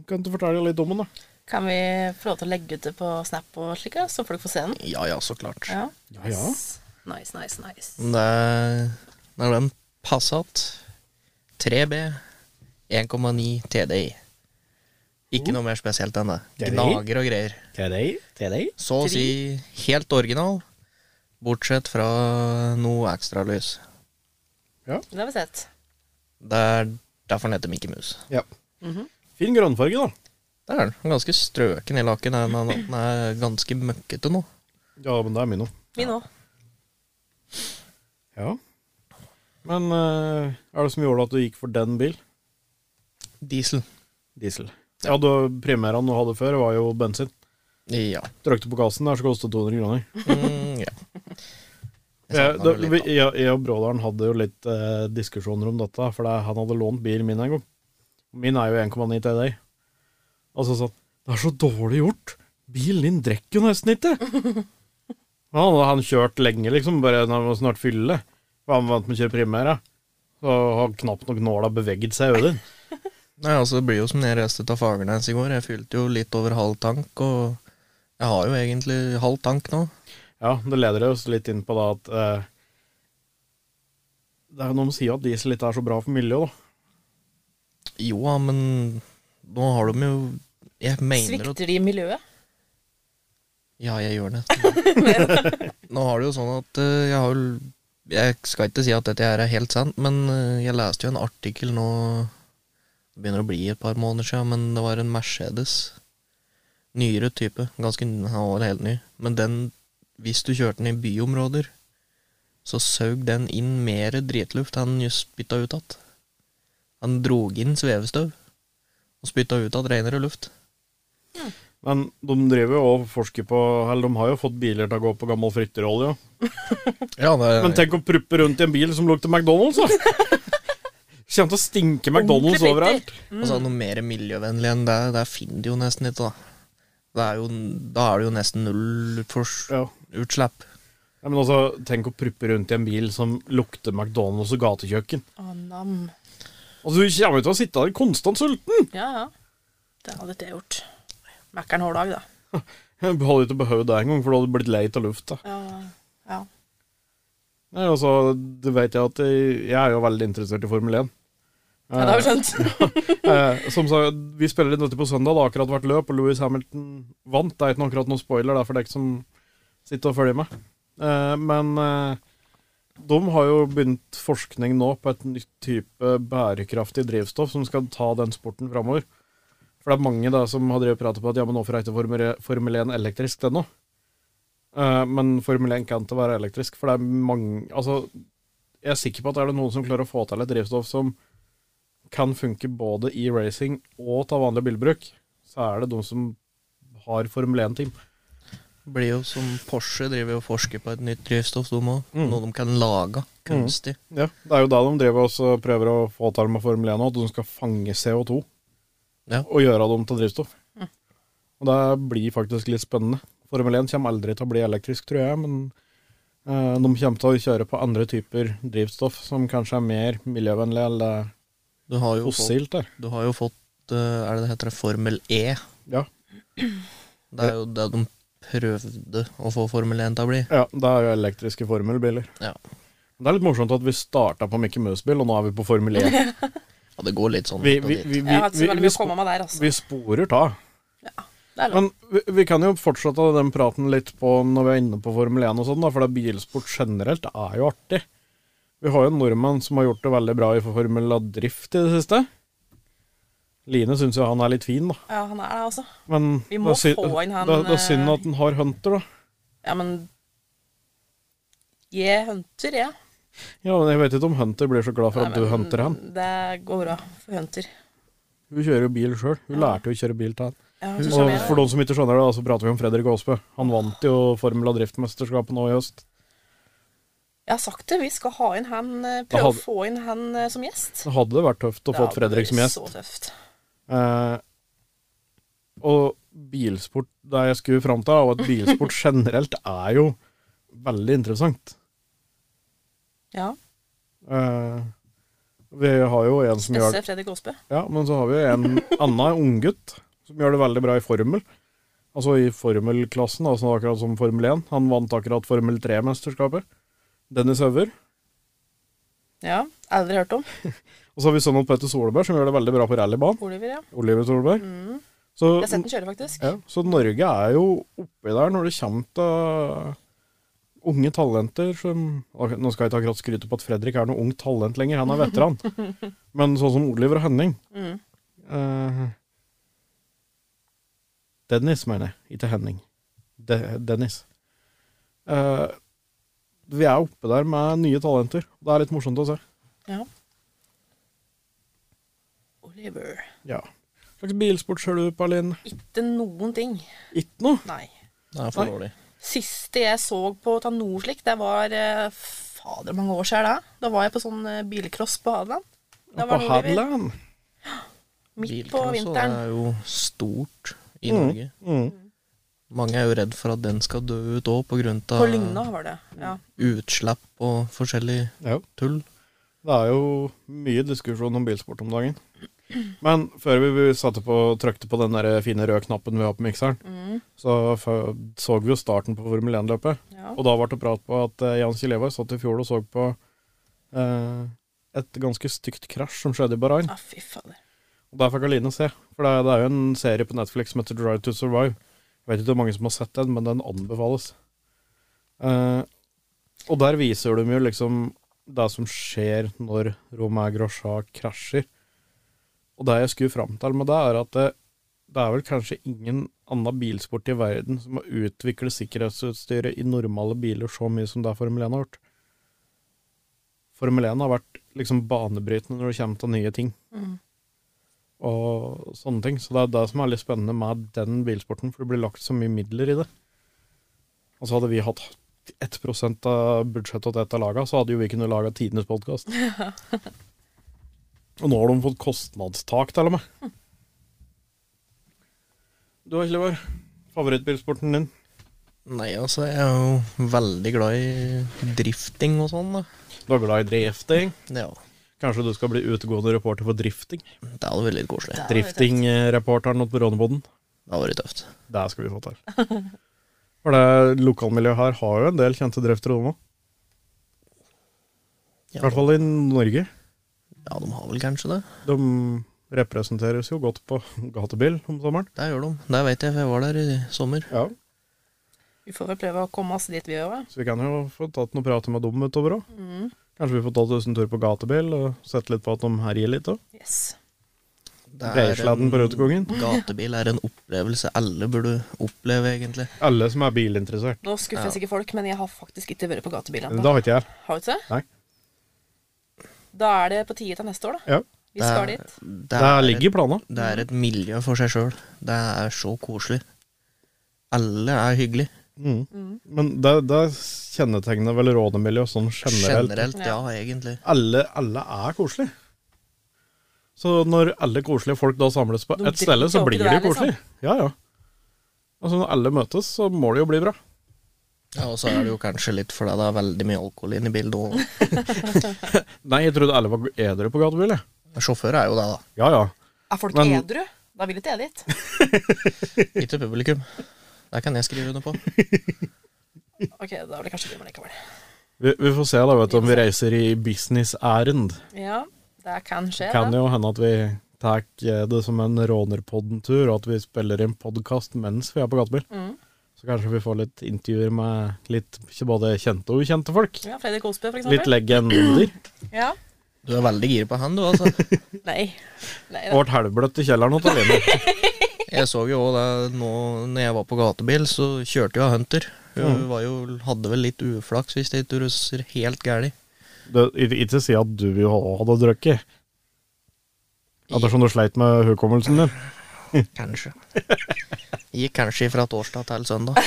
S3: Kan du fortelle litt om den, da?
S6: Kan vi få lov til å legge ut det på Snap og slik, ja, så folk får se den?
S1: Ja ja, så klart.
S6: Ja.
S3: Ja, Mm. ja.
S6: Nice, nice, nice.
S1: Det er, det er den Passat 3B 1,9 TDI.
S6: Oh.
S1: Ikke noe mer spesielt enn det.
S3: TDI?
S1: Gnager og greier. Så å si helt original, bortsett fra noe ekstralys.
S6: Det har vi sett.
S1: Det er derfor den heter Mikke Mus.
S3: Ja. Fin grønnfarge, da.
S1: Det er den. Ganske strøken i laken. Den er, den er ganske møkkete nå.
S3: Ja, men det er min òg.
S6: Min òg.
S3: Ja. Men eh, er det som gjorde at du gikk for den bil?
S1: Diesel.
S3: Diesel. Ja, du, Primæren du hadde før, var jo bensin.
S1: Ja.
S3: Trykte på gassen der, så kostet det 200 kroner.
S1: Mm, ja.
S3: Jeg,
S1: savner
S3: da,
S1: det litt,
S3: vi, jeg, jeg og Brådalen hadde jo litt eh, diskusjoner om dette, for det- han hadde lånt bilen min en gang. Min er jo 1,9 til deg. Og så sa han det er så dårlig gjort. Bilen din drikker jo nesten ikke. Men han hadde han kjørt lenge, liksom. Bare når han var snart fylle. For han vant med å kjøre primæra. Så har knapt nok nåla beveget seg over den.
S1: Nei, altså, det blir jo som når jeg reiste til Fagernes i går. Jeg fylte jo litt over halv tank, og jeg har jo egentlig halv tank nå.
S3: Ja, det leder oss litt inn på da at eh, Det er jo noe med å si at diesel ikke er så bra for miljøet, da.
S1: Jo ja, men nå har de jo Jeg mener at
S6: Svikter de miljøet?
S1: Ja, jeg gjør det. nå har det jo sånn at eh, jeg har jo Jeg skal ikke si at dette her er helt sant, men eh, jeg leste jo en artikkel nå Det begynner å bli et par måneder siden, men det var en Mercedes. Nyere type. Ganske ny, han var helt ny. Men den, hvis du kjørte den i byområder, så saug den inn mer dritluft enn den spytta ut igjen. Han drog inn svevestøv og spytta ut igjen renere luft.
S3: Men de driver jo og forsker på Eller de har jo fått biler til å gå på gammel fritterolje. ja.
S1: Ja, det,
S3: Men tenk å pruppe rundt i en bil som lukter McDonald's, da! Kommer til å stinke McDonald's
S6: Ordentlig
S3: overalt.
S1: Altså Noe mer miljøvennlig enn det, det finner de jo nesten ikke, da. Det er jo, da er det jo nesten null fors-
S3: Ja.
S1: utslipp.
S3: Ja, men altså, tenk å pruppe rundt i en bil som lukter McDonald's og gatekjøkken.
S6: Å, nam.
S3: Altså, Du kommer jo til å sitte der konstant sulten!
S6: Ja, ja. Det hadde ikke jeg gjort. Mækkern hver dag, da.
S3: Jeg hadde ikke behøvd det engang, for da hadde du blitt lei av lufta.
S6: Ja, ja.
S3: Nei, altså, du vet jeg at jeg, jeg er jo veldig interessert i Formel 1.
S6: ja det har vi skjønt.
S3: Eh, som sa, vi spiller inn dette på søndag, det har akkurat vært løp, og Louis Hamilton vant. Det er ikke noe akkurat noen spoiler, det er for dere som sitter og følger med. Eh, men eh, de har jo begynt forskning nå på et nytt type bærekraftig drivstoff som skal ta den sporten framover. For det er mange da som har drevet og pratet på at ja, men hvorfor er ikke Formel- E, Formel 1 elektrisk ennå? Eh, men Formel 1 kan ikke være elektrisk, for det er mange Altså, jeg er sikker på at er det noen som klarer å få til et drivstoff som kan funke både i racing og ta vanlig bilbruk, så er det de som har Formel 1-team.
S1: Blir jo som Porsche driver jo og forsker på et nytt drivstoff, de òg.
S3: Mm.
S1: Noe de kan lage kunstig.
S3: Ja, det er jo da de driver også og prøver å få til med Formel 1 nå, at de skal fange CO2
S1: Ja.
S3: og gjøre dem til drivstoff. Og det blir faktisk litt spennende. Formel 1 kommer aldri til å bli elektrisk, tror jeg, men eh, de kommer til å kjøre på andre typer drivstoff som kanskje er mer miljøvennlig eller
S1: Du har jo fått,
S3: fossilt. Der.
S1: du har jo fått eh, Er det det heter? Formel E.
S3: Ja.
S1: Det er jo det de prøvde å få Formel 1 til å bli.
S3: ja, det er jo elektriske formelbiler.
S1: Ja.
S3: Det er litt morsomt at vi starta på Mickey Mouse-bil, og nå er vi på Formel 1.
S1: Ja, det går litt sånn
S3: Vi,
S1: hit og
S3: vi,
S1: dit.
S3: vi, vi,
S4: Jeg har ikke så
S3: vi,
S4: veldig
S3: vi,
S4: mye å komme meg der,
S3: sp-
S4: altså.
S3: vi sporer ta.
S4: Det er lov.
S3: Men vi, vi kan jo fortsette den praten litt på når vi er inne på Formel 1 og sånn, da, for det bilsport generelt er jo artig. Vi har jo en nordmann som har gjort det veldig bra i Formel Drift i det siste. Line syns jo han er litt fin, da.
S4: Ja, han er det, altså.
S3: Men
S4: Vi må
S3: det, er sy-
S4: få inn han,
S3: det, det er
S4: eh,
S3: synd at han har Hunter, da.
S4: Ja, men Jeg hunter, jeg.
S3: Ja, men Jeg vet ikke om Hunter blir så glad for
S4: Nei,
S3: at du
S4: men
S3: hunter han.
S4: Det går bra for hunter.
S3: Hun kjører jo bil sjøl. Hun lærte jo å kjøre bil til han.
S4: Ja, så
S3: Og
S4: skjønner jeg.
S3: for de som ikke skjønner det, da, så prater vi om Fredrik Aasbø. Han vant jo Formel Drift-mesterskapet nå i høst.
S4: jeg har sagt det, vi skal ha inn han eh,
S3: Da
S4: Prøve
S3: hadde-
S4: å få inn han eh, som gjest.
S3: Det hadde vært tøft å få Fredrik som gjest.
S4: Så tøft.
S3: Eh, og bilsport Det jeg skulle fram til, er jo at bilsport generelt er jo veldig interessant.
S4: Ja.
S3: Eh, vi har jo en som gjør
S4: Spesielt Fredrik Aasbø.
S3: Ja, men så har vi jo en annen unggutt som gjør det veldig bra i formel. Altså i formelklassen, altså akkurat som Formel 1. Han vant akkurat Formel 3-mesterskapet. Dennis Øver.
S4: Ja. Aldri hørt om.
S3: Og så har vi sønnen til Petter Solberg, som gjør det veldig bra på rallybanen.
S4: Oliver, ja.
S3: Oliver Solberg. Så,
S4: Jeg har sett den kjøre, faktisk.
S3: ja, så Norge er jo oppi der når det kommer til unge talenter som Ok, Nå skal jeg ikke akkurat skryte på at Fredrik er noe ungt talent lenger, han er veteran. Men sånn som Oliver og Henning
S4: Mm.
S3: Eh, Dennis, mener jeg. Ikke Henning. De Dennis. Eh, vi er oppe der med nye talenter. Det er litt morsomt å se.
S4: Oliver.
S3: Ja. Hva slags bilsport ser du på, Linn?
S4: Ikke noen ting.
S3: Ikke noe.
S4: Nei.
S1: Det er for dårlig.
S4: Siste jeg så på ta noe slikt, det var eh, Fader, mange år siden da. Da var jeg på sånn eh, bilcross på Hadeland. Da
S3: På
S4: var det Oliver.
S3: Hadeland.
S4: Midt på
S1: Bilcross, og
S4: vinteren.
S1: Det er jo stort i
S3: Mm.
S1: Norge.
S3: Mm.
S1: Mange er jo redd for at den skal dø ut òg, pga.
S4: På Lygna var det. Ja.
S1: utslipp og forskjellig
S3: Ja.
S1: tull.
S3: Det er jo mye diskusjon om bilsport om dagen. Men før vi- vi satte på, trykte på den der fine røde knappen vi har på mikseren, så fø- så vi jo starten på Formel 1-løpet.
S4: Ja.
S3: Og da ble det prat på at eh, Jan Kileva satt i fjor og så på eh, et ganske stygt krasj som skjedde i Bahrain.
S4: Ah, fy fader.
S3: Og der fikk Aline se. For det, er- det er jo en serie på Netflix som heter Drive to Survive. Jeg vet ikke hvor mange som har sett den, men den anbefales. Eh, og der viser de jo liksom det som skjer når Romain Grosjean krasjer. Og det jeg skulle fram til med det, er at det, det er vel kanskje ingen annen bilsport i verden som har utviklet sikkerhetsutstyret i normale biler så mye som det Formel 1 har gjort. Formel 1 har vært liksom banebrytende når det kommer til nye ting og sånne ting. Så det er det som er litt spennende med den bilsporten, for det blir lagt så mye midler i det. Og så hadde vi hatt 1 av budsjettet til et av lagene, så hadde jo vi kunnet lage tidenes podkast. og nå har de fått kostnadstak, til og med. Du da, Kjellivor? Favorittbilsporten din?
S1: Nei, altså, jeg er jo veldig glad i drifting og sånn, da.
S3: Du er glad i drifting?
S1: Ja,
S3: Kanskje du skal bli utegående reporter for drifting?
S1: det hadde vært litt koselig.
S4: Ja, det er
S3: Drifting-reporteren på Råneboden?
S1: Det hadde vært tøft.
S3: Det skal vi få til. For det lokalmiljøet her har jo en del kjente driftere, de òg. I
S1: Ja.
S3: hvert fall i Norge.
S1: Ja, de har vel kanskje det.
S3: De representeres jo godt på gatebil om sommeren.
S1: Det gjør de. Det vet jeg, for jeg var der i sommer.
S3: Ja.
S4: Vi får vel prøve å komme oss dit vi òg,
S3: Så vi kan jo få tatt noen prater med dem utover òg. Kanskje vi får tatt oss en tur på gatebil og sett litt på at de herjer litt òg.
S4: Yes.
S1: Det er
S3: Breisladden på Rødtekongen.
S1: en- Gatebil er en opplevelse alle burde oppleve, egentlig.
S3: Alle som er bilinteressert.
S4: Nå skuffer jeg sikkert folk, men jeg har faktisk ikke vært på gatebil
S3: Det
S4: ennå.
S3: har ikke jeg.
S4: Har du ikke det?
S3: Nei.
S4: Da er det på tide til neste år, da.
S3: Ja.
S4: Vi skal dit.
S1: Det
S3: Det
S1: er,
S3: ligger i plana.
S1: et, det er et miljø for seg sjøl. Det er så koselig. Alle er hyggelige.
S3: Mm. Men det, det kjennetegner vel rånemiljøet sånn generelt.
S1: Generelt, ja, egentlig.
S3: alle, alle er koselige. Så når alle koselige folk da samles på
S4: De
S3: ett stelle, så blir
S4: drikker
S3: det
S4: oppi der,
S3: koselig. Ja, ja. Altså Når alle møtes, så må det jo bli bra.
S1: Ja, Og så er det jo kanskje litt fordi det er veldig mye alkohol inne i bildet òg.
S3: Nei, jeg trodde alle var edru på gatebil, jeg.
S1: Sjåfør er jo det, da.
S3: Ja, ja.
S4: Er folk
S3: Men-
S4: edru? Da vil ikke jeg dit.
S1: Ikke publikum. Det kan jeg skrive under på.
S4: Ok, da blir det kanskje gøy, men likevel.
S3: Vi, vi får se da, vet du, om vi reiser i business ærend.
S4: Ja, Det kan skje,
S3: Kan
S4: det.
S3: jo hende at vi tar eh, det som en Rånerpodden-tur, og at vi spiller inn podkast mens vi er på gatebil.
S4: Mm.
S3: Så kanskje vi får litt intervjuer med litt både kjente og ukjente folk.
S4: Ja, Fredrik Osbø, for
S3: Litt
S4: eksempel.
S3: legender.
S4: Ja.
S1: Du er veldig gira på han, du, altså.
S4: Nei. Nei da.
S3: Og ble halvbløtt i kjelleren hos Aline.
S1: Jeg så jo òg det nå når jeg var på gatebil, så kjørte jo Hunter. Hun var jo, hadde vel litt uflaks, hvis det ikke russer helt gæli.
S3: Det- ikke- Ikke si at du òg hadde drukket. Ettersom du sleit med hukommelsen din.
S1: Kanskje. Gikk kanskje fra torsdag til søndag.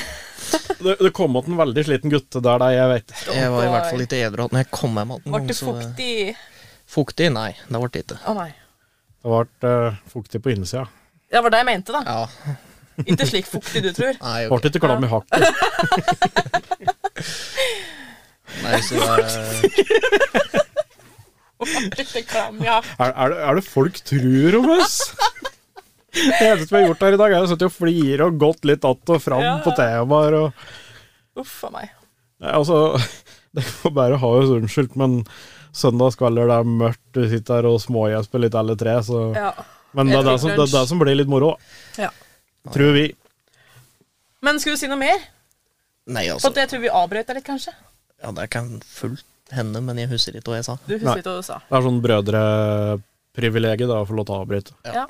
S3: Det, det kom igjen en veldig sliten gutt der, da, jeg vet.
S1: Jeg var i hvert fall ikke edru når jeg kom hjem igjen.
S4: Ble det fuktig
S1: Fuktig? Nei, det ble det ikke.
S4: Å nei.
S3: Det ble eh, fuktig på innsida.
S4: Det var det jeg mente, da.
S1: Ja,
S4: Ikke slik fuktig du tror.
S1: nei, ok.
S3: Ble ikke klam i hakket.
S1: nei så det,
S4: Litt klam, ja.
S3: Er, er, det, er det folk tror om oss? Det eneste vi har gjort her i dag, er å sitte og flire og gått litt att og fram
S4: Ja.
S3: på temaer. Og,
S4: Uff a meg.
S3: nei, altså, det går bare å ha oss unnskyldt, men søndagskvelder det er mørkt, du sitter her og smågjesper litt alle tre, så
S4: Ja.
S3: Men det er det, som, det er det som blir litt moro,
S4: ja.
S3: tror vi.
S4: Men skulle du si noe mer?
S1: nei,
S4: For
S1: altså.
S4: at jeg tror vi avbrøt deg litt, kanskje.
S1: Ja, det kan fullt hende, men jeg husker ikke hva jeg sa.
S4: Du
S3: Nei.
S4: husker ikke hva du sa.
S3: Det er sånn brødreprivilegiet da, å få lov til å avbryte.
S4: Ja.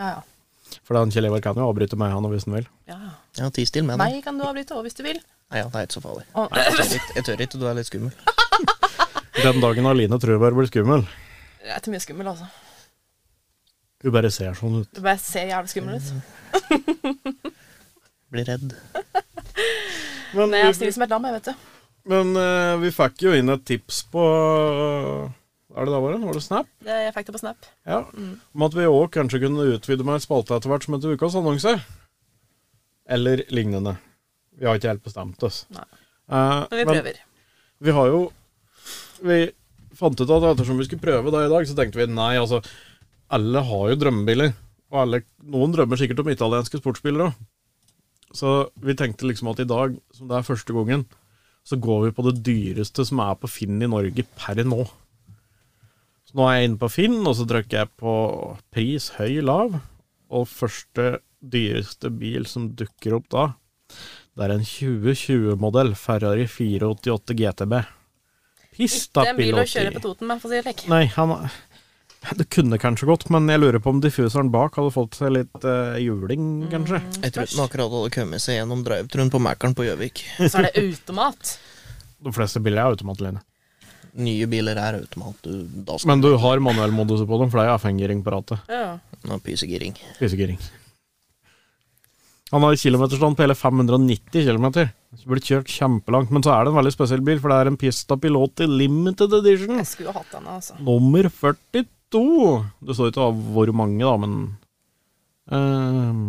S4: Ja, ja.
S3: For den Kjell Ivar kan jo avbryte meg, han, hvis han vil.
S4: ja, ja.
S1: Ja, ti stille med deg.
S4: Meg kan du avbryte òg, hvis du vil.
S1: Nei, ja, det er ikke så farlig.
S4: Og,
S1: Jeg tør ikke, jeg tør ikke du er litt skummel.
S3: Den dagen Aline tror jeg bare blir skummel.
S4: jeg er til mye skummel, altså.
S3: Hun bare ser sånn ut.
S4: Du bare ser jævlig skummel ut.
S1: Blir redd.
S3: Men,
S4: Nei, altså, jeg er snill som et lam, jeg, vet du.
S3: Men eh, vi fikk jo inn et tips på Er det da var det? Var det Snap?
S4: Det, jeg fikk det på Snap.
S3: Ja.
S4: Mm.
S3: Om at vi òg kanskje kunne utvide med en spalte etter hvert som heter Ukas annonse. Eller lignende. Vi har ikke helt bestemt oss.
S4: Nei.
S3: Eh,
S4: Men vi prøver.
S3: vi har jo Vi fant ut at ettersom vi skulle prøve det i dag, så tenkte vi nei, altså Alle har jo drømmebiler. Og alle, noen drømmer sikkert om italienske sportsbiler òg. Så vi tenkte liksom at i dag, som det er første gangen, så går vi på det dyreste som er på Finn i Norge per nå. Så nå er jeg inne på Finn, og så trykker jeg på pris høy, lav. Og første dyreste bil som dukker opp da, det er en 2020-modell Ferrari 488 GTB.
S4: Ikke
S3: Pista
S4: en bil å kjøre på Toten med, for å si det slik.
S3: Nei, han Det kunne kanskje gått, men jeg lurer på om diffuseren bak hadde fått seg litt eh, juling, kanskje.
S1: Jeg tror ikke den akkurat hadde kommet seg gjennom drive-truen på Mækkern på Gjøvik.
S4: Så er det automat.
S3: De fleste biler er automatlinje.
S1: Nye biler er automat. Du, da skal
S3: Men du har manuellmodus på dem, for det er FN-giring på rattet.
S4: Ja.
S1: du ha pysegiring.
S3: Fysegiring. Han har kilometerstand på hele 590 km. Burde kjørt kjempelangt, men så er det en veldig spesiell bil, for det er en Pista Piloti Limited Edition.
S4: Jeg skulle jo hatt denne, altså.
S3: Nummer 42. Det står ikke av hvor mange, da, men ehm.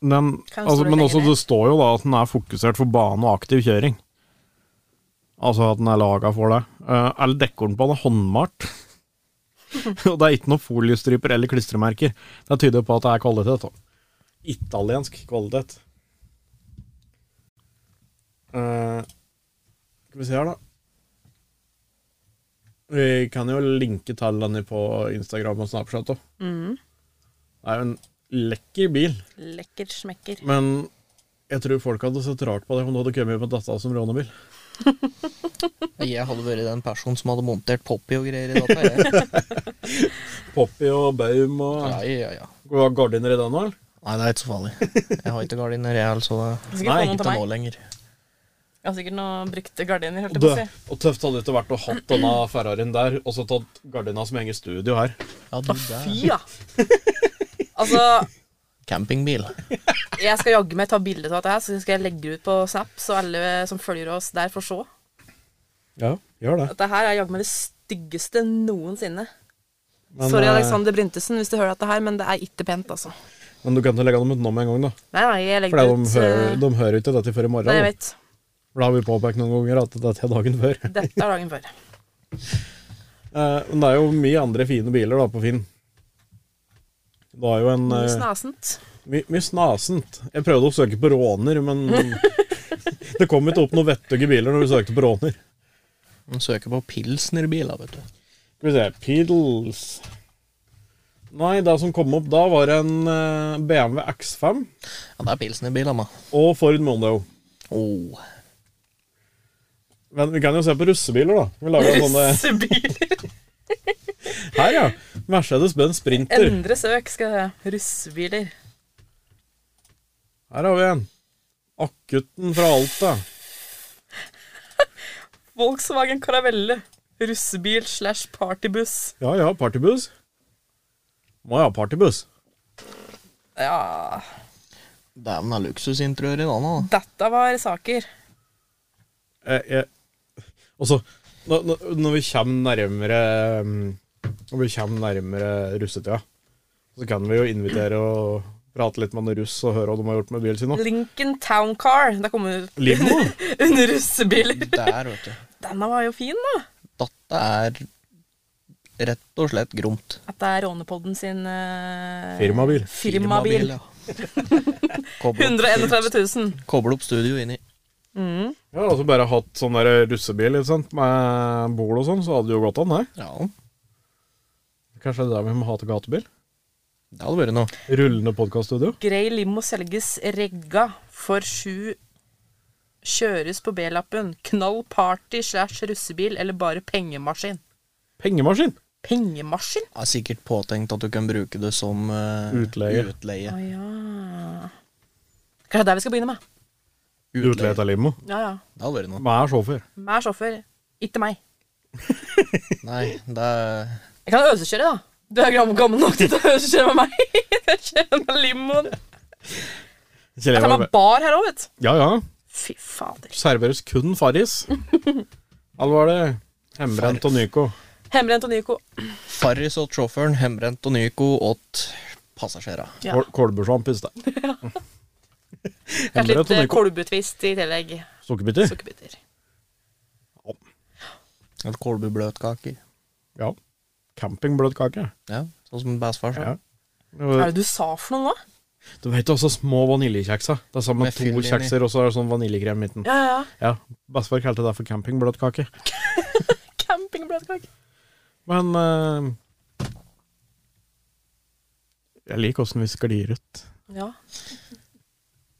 S3: den,
S4: Kan
S3: altså,
S4: stå
S3: Men
S4: lenger
S3: også,
S4: ned.
S3: det står jo da at den er fokusert for bane og aktiv kjøring. Altså at den er laga for det. Uh, All dekoren på den er håndmalt. og det er ikke noen foliestriper eller klistremerker. Det tyder på at det er kvalitet. Da. Italiensk kvalitet. Eh, skal vi se her, da. Vi kan jo linke til den på Instagram og Snapchat òg.
S6: Mm.
S3: Det er jo en lekker bil,
S4: Lekker smekker.
S3: men jeg tror folk hadde sett rart på det om du hadde kommet med dette som rånebil.
S1: Jeg hadde vært den personen som hadde montert Poppy og greier i data. Jeg.
S3: Poppy og Baum og
S1: Ja, ja, ja.
S3: Går det gardiner i den òg, eller?
S1: Nei, det er ikke så farlig. Jeg har ikke gardiner, jeg, altså.
S4: Jeg har sikkert
S3: Nei,
S4: fått noen
S1: Ikke
S4: til
S1: nå
S4: meg.
S1: lenger.
S4: Jeg har sikkert noen brukte gardiner, holdt
S3: Og,
S4: jeg på å si.
S3: det- og tøft hadde det ikke vært å hatt denne Ferrarien der, og så tatt gardina som henger i studio her.
S1: Ja, du, det
S4: Fy,
S1: er
S4: ja. Altså,
S1: campingbil.
S4: jeg skal jaggu meg ta bilde av dette her, så skal jeg legge det ut på Snap, så alle som følger oss der, får se.
S3: Ja, gjør det.
S4: Dette her er jaggu meg det styggeste noensinne.
S3: Men,
S6: Sorry,
S3: eh,
S6: Alexander Bryntesen, hvis du hører dette her, men det er ikke pent, altså.
S3: men du kan ikke legge dem ut nå med en gang, da.
S6: Nei, nei, jeg
S3: For
S6: legger
S3: de,
S6: det ut
S3: hører,
S6: eh,
S3: de hører ikke dette før i morgen.
S6: Nei, jeg
S3: da.
S6: vet.
S3: For da har vi påpekt noen ganger at dette er dagen før.
S6: Dette er dagen før.
S3: Eh, men det er jo mye andre fine biler da på Finn. Det er jo en
S6: Mye
S3: eh,
S6: Snasent.
S3: my- Mye snasent. Jeg prøvde å søke på råner, men det kom ikke opp noen vettuge biler når vi søkte på råner.
S1: Han søker på pilsnerbiler, vet du.
S3: Skal vi se Pedals Nei, det som kom opp da, var en eh, BMW X5
S1: Ja, det er pilsnerbiler, da.
S3: og Ford Mondo.
S1: Oh.
S3: Men vi kan jo se på russebiler, da. Vi lager sånne
S4: Russebiler.
S3: Her, ja. Mercedes-Benz Sprinter.
S4: Endre søk, skal jeg se. Russebiler.
S3: Her har vi en. Akutten fra Alta.
S4: Volkswagen Caravelle. Russebil slash partybuss.
S3: Ja ja, partybuss. Må jeg ha partybuss?
S4: Ja
S1: Dæven, det er luksusinteriør i denne, da.
S4: Dette var saker.
S3: Jeg, Eh, jeg. Altså, når, når- når vi kommer nærmere mm, Når vi kommer nærmere russetida, så kan vi jo invitere og prate litt med noen russ og høre hva de har gjort med bilen sin. da.
S4: Lincoln Town Car. Det kom ut
S3: Limo?
S4: under russebiler.
S1: Der, vet du.
S4: Denne var jo fin, da.
S1: Dette er rett og slett gromt.
S4: At det er Rånepodden sin eh,
S3: Firmabil.
S4: firmabil.
S1: ja. Koble opp,
S4: 131 000.
S1: koble opp studio inni.
S3: Ja, altså bare hatt sånn der russebil ikke sant? med bol og sånn, så hadde det jo gått an, det.
S1: Ja,
S3: Kanskje det er der vi må ha til gatebil?
S1: det hadde vært noe.
S3: Rullende podkaststudio?
S4: Grei limo selges regga for sju. Kjøres på B-lappen. Knall party slash russebil eller bare pengemaskin.
S3: Pengemaskin!
S4: Pengemaskin?
S1: Det er sikkert påtenkt at du kan bruke det som eh,
S3: Utleie.
S1: utleie.
S4: Å ja. Kanskje det er der vi skal begynne med.
S3: Utleie av limo.
S4: Ja, ja.
S1: Det hadde vært noe.
S3: Hva er sjåfør?
S4: Meg er sjåfør. Ikke meg.
S1: Nei, det er
S4: Jeg kan øvelseskjøre, da. Du er gammel, gammel nok til å øvelseskjøre med meg. Jeg kjører med limoen.
S3: Kjell
S4: Jeg tar
S3: Ivar
S4: meg bar her òg, vet du.
S3: Ja ja.
S4: Fy fader.
S3: Serveres kun Farris. Alvorlig. Hembrent og Nyco.
S4: Hembrent og Nyco.
S1: Farris åt sjåføren, hjemmebrent og Nyco åt passasjerene.
S4: Ja.
S3: Kål- Kålbulsjampis, det.
S4: Kanskje
S3: Hembrent
S4: litt
S3: og
S4: eh,
S3: Nyco.
S4: kolbetvist i tillegg.
S3: Sukkerbiter.
S4: Sukkerbiter.
S1: Eller kålbubløtkaker.
S3: Ja. Campingbløtkake.
S1: Ja, sånn som bestefar sa.
S3: Ja.
S4: Hva
S3: Du
S4: er det du sa for noe nå?
S3: veit også små vaniljekjekser. Det er sammen
S1: Med
S3: med to
S1: fyll inni.
S3: kjekser, og så er det sånn vaniljekrem i midten.
S4: Ja, ja, ja.
S3: Ja. Bestefar kalte det for campingbløtkake.
S4: Campingbløtkake.
S3: Men eh, Jeg liker åssen vi sklir ut.
S4: Ja.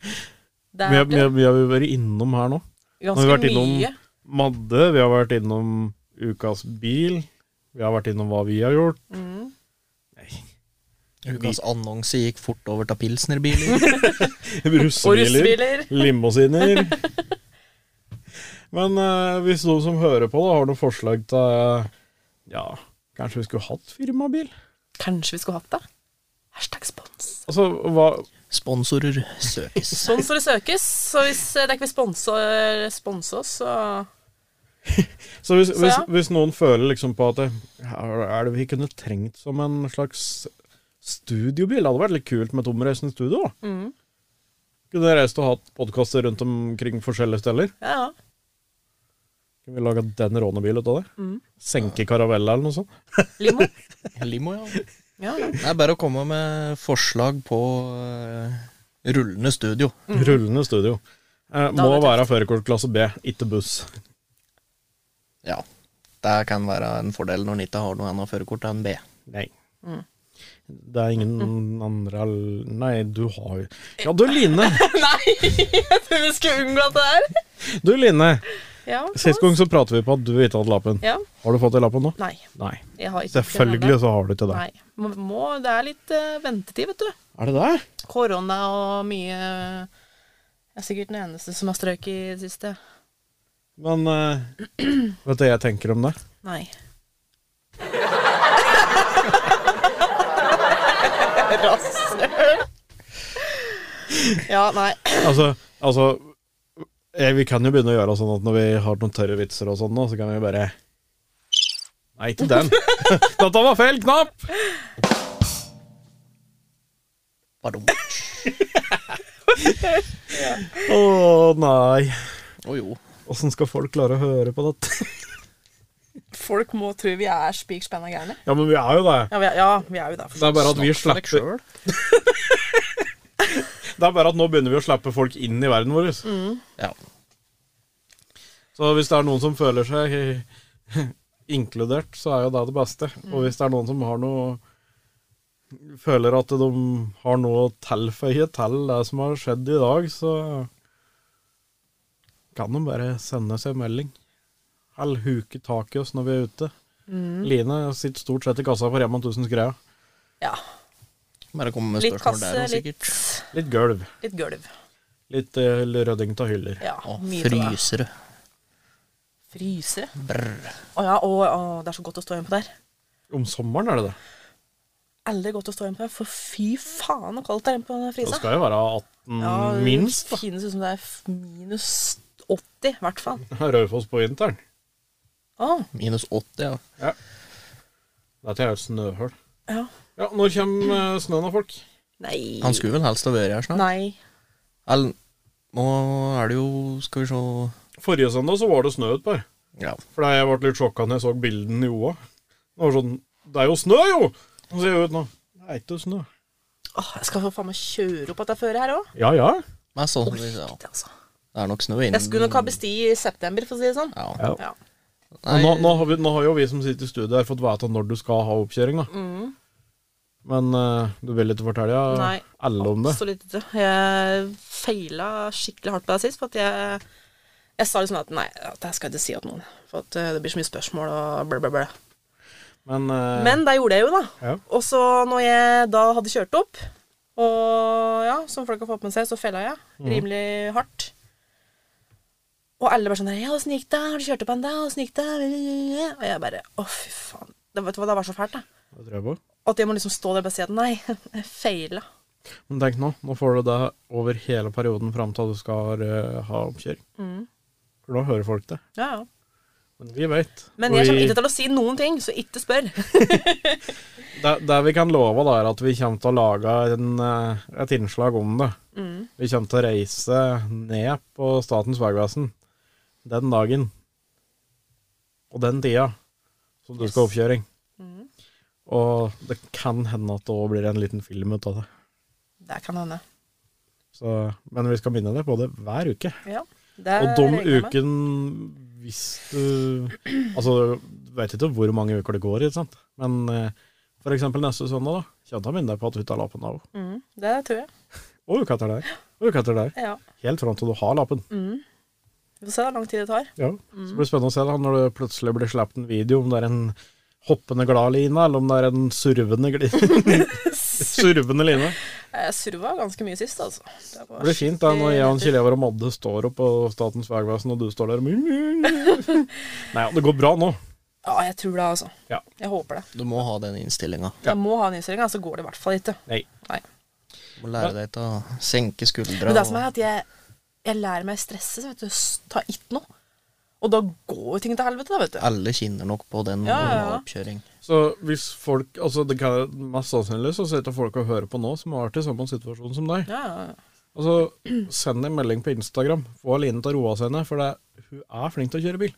S4: Det
S3: Vi
S4: er
S3: har, vi, har, vi har jo vært innom her nå. har vi
S4: ganske
S3: vært innom-
S4: mye.
S3: Madde, vi har vært innom ukas bil. Vi har vært innom hva vi har gjort.
S4: Mm.
S1: Ukas annonse gikk fort over til pilsnerbiler.
S4: Og
S3: Russebiler.
S4: russebiler.
S3: Limousiner. Men eh, hvis noen som hører på, da, har noen forslag til eh, Ja, kanskje vi skulle hatt firmabil?
S4: Kanskje vi skulle hatt det? Hashtag spons.
S3: Altså, hva
S1: Sponsorer søkes.
S4: Sponsorer søkes, så hvis eh, dere ikke vil sponse sponse oss, så
S3: Så hvis,
S4: Så
S3: hvis,
S4: ja.
S3: hvis noen føler liksom på at det, her er det vi kunne trengt som en slags studiobil? Det hadde vært litt kult med tomreisende studio. da.
S4: mm.
S3: Kunne reist og hatt podkaster rundt omkring forskjellige steder.
S4: Ja, ja.
S3: Kunne vi laga den rånebil ut av det?
S4: Mm.
S3: Senke karavella eller noe sånt?
S4: Limo.
S1: Limo, ja.
S4: Ja, ja.
S1: Det er bare å komme med forslag på eh, rullende studio.
S3: Rullende studio. Eh,
S4: Da
S3: må
S4: Mm. hadde jeg
S3: være førerkortklasse B, ikke buss.
S1: Ja. Det kan være en fordel når en ikke har noe annet førerkort enn B.
S3: Nei.
S4: Mm.
S3: Det er ingen andre al- Nei, du har jo Ja, du Line!
S4: Nei, jeg tror vi skulle unngå at det er.
S3: Du Line!
S4: Ja,
S3: Sist gang så pratet vi på at du ikke hadde lappen.
S4: Ja.
S3: Har du fått den lappen nå?
S4: Nei,
S3: Nei.
S4: jeg har ikke
S3: Selvfølgelig så har du ikke det.
S4: Nei, må, må, det er litt eh, ventetid, vet du.
S3: Er det det?
S4: Korona og mye Jeg er sikkert den eneste som har strøk i det siste.
S3: Men eh, vet du hva jeg tenker om det?
S4: Nei. Rasshøl. Ja, nei.
S3: Altså, altså eh, Vi kan jo begynne å gjøre sånn at når vi har noen tørre vitser og sånn, nå, så kan vi bare Nei, ikke den. Dette var feil knapp!
S1: Badum.
S3: Å nei.
S1: Å jo.
S3: Åssen skal folk klare å høre på dette?
S4: Folk må tro vi er spikspenna gærne.
S3: Ja, men vi er jo det.
S4: Ja, vi er, ja, vi er jo der.
S3: Det er bare at vi
S1: Snakk for deg
S3: slipper
S1: Mm.
S3: Det er bare at nå begynner vi å slippe folk inn i verden vår.
S1: Ja.
S3: Så hvis det er noen som føler seg inkludert, så er jo det det beste.
S1: Mm.
S3: Og hvis det er noen som har noe Føler at de har noe å tilføye til det som har skjedd i dag, så kan de bare sende oss en melding. Eller huke tak i oss når vi er ute.
S1: Mm.
S3: Line sitter stort sett i kassa på Rema 1000s greia.
S4: Ja.
S1: Bare komme med
S4: Litt
S1: spørsmål der
S4: kasse,
S1: også,
S4: litt,
S1: sikkert.
S3: Litt gulv.
S4: litt gulv.
S3: Litt eh, rydding av hyller.
S4: Ja,
S1: Å,
S4: mye av det.
S1: frysere.
S4: Fryse.
S1: Brr.
S4: Å ja, og, å, det er så godt å stå hjemme på der.
S3: Om sommeren er det det.
S4: Aldri godt å stå hjemme på der, for fy faen så kaldt det er inne på den
S3: Det
S4: frysa.
S3: skal jo være 18 minst. da.
S4: Kines ut som det er f- minus 80, i hvert fall.
S3: Raufoss på vinteren.
S4: Å,
S1: Minus 80, ja.
S3: Dette er jo et snøhull.
S4: ja.
S3: Ja, når kommer eh, snøen av folk?
S4: Nei.
S1: Han skulle vel helst ha vært her snart.
S4: Nei.
S1: Eller, nå er det jo Skal vi se
S3: Forrige søndag så var det snø utpå her.
S1: Ja.
S3: For jeg ble litt sjokka når jeg så bildene i Oa. Det var sånn Det er jo snø, jo! Så ser jeg ut nå. Det er ikke snø.
S4: Åh, jeg skal få faen meg kjøre opp at jeg fører her òg.
S3: Ja, ja.
S1: Mest sannsynlig, sånn, ja.
S4: Altså.
S1: Det er nok snø inne.
S4: Jeg skulle nok ha bestilt i september, for å si det sånn.
S1: Ja.
S3: Ja.
S4: Ja.
S1: Nei,
S3: Nå, nå, har vi, nå har jo vi som sitter i studio her, fått vite når du skal ha oppkjøring, da. Men eh, du vil ikke fortelle
S4: Mm. Nei.
S3: alle om det?
S4: Absolutt ikke. Jeg feila skikkelig hardt på det sist, for at jeg, jeg sa liksom at nei, det skal jeg ikke si til noen. For at eh, det blir så mye spørsmål og blæ, blæ, blæ.
S3: Men, eh,
S4: Men det gjorde jeg jo, da.
S3: Ja.
S4: Og så når jeg da hadde kjørt opp, og ja, som folk har fått med seg, så fella jeg
S3: Mhm.
S4: rimelig hardt. Og alle bare sånn her, 'Ja, åssen gikk det? Har du kjørt opp en dag? Åssen gikk det?' Og jeg bare Å, fy faen. Det, vet du hva, det var så fælt, da.
S3: Det tror jeg på.
S4: At jeg må liksom stå der og bare si at nei, jeg feila.
S3: Men tenk nå, nå får du det over hele perioden fram til du skal eh, ha oppkjøring.
S4: Mm.
S3: For nå hører folk det.
S4: Ja, ja.
S3: Men vi veit.
S4: Men jeg kommer ikke til å si noen ting, så ikke spør.
S3: det, det vi kan love, da, er at vi kommer til å lage en, eh, et innslag om det.
S4: Mm.
S3: Vi kommer til å reise ned på Statens vegvesen den dagen og den tida som du skal ha oppkjøring.
S4: Mm.
S3: Og det kan hende at det òg blir en liten film ut av det.
S4: Det kan hende.
S3: Så, men vi skal minne deg på det hver uke.
S4: Ja, Eh, det
S3: Og de
S4: regner jeg med.
S3: uken Hvis du Altså, du vet ikke hvor mange uker det går, ikke sant? Men eh, for eksempel neste søndag, da. Kjente han minne deg på at du tar lappen av.
S4: Mm, det tror jeg.
S3: Og uka etter der. Og uka etter der.
S4: Ja.
S3: Helt fram til du har lappen.
S4: Vi får se hvor lang tid det tar.
S3: Ja. Så blir det spennende å se da, når det plutselig blir sluppet en video, om det er en hoppende glad line, eller om det er en survende gli- Survende line.
S4: Jeg surva ganske mye sist, altså. Det
S3: Det
S4: var
S3: blir fint da når jeg og
S4: skikkelig-
S3: Kjell Evar og Madde står oppe på Statens vegvesen, og du står der og Nei, ja, det går bra nå.
S4: Ja, jeg tror det, altså.
S3: Ja.
S4: Jeg håper det.
S1: du må ha den innstillinga.
S4: Jeg må ha en innstilling, ellers så går det i hvert fall ikke.
S3: Nei.
S4: Nei.
S1: Må lære deg til å senke skuldra.
S4: Men det som er at jeg, jeg lærer meg å stresse, så vet du. s- Ta ikke noe. Og da går jo ting til helvete, da, vet du.
S1: og Alle kjenner nok på den
S4: Ja, ja, ja.
S1: oppkjøring.
S3: Så hvis folk, altså det kan, mest sannsynlig så sitter folk og hører på nå som har vært i samme situasjon som deg.
S4: Ja, ja, ja.
S3: Altså, send en melding på Instagram. Få Aline til å roe seg ned, for det, hun er flink til å kjøre bil.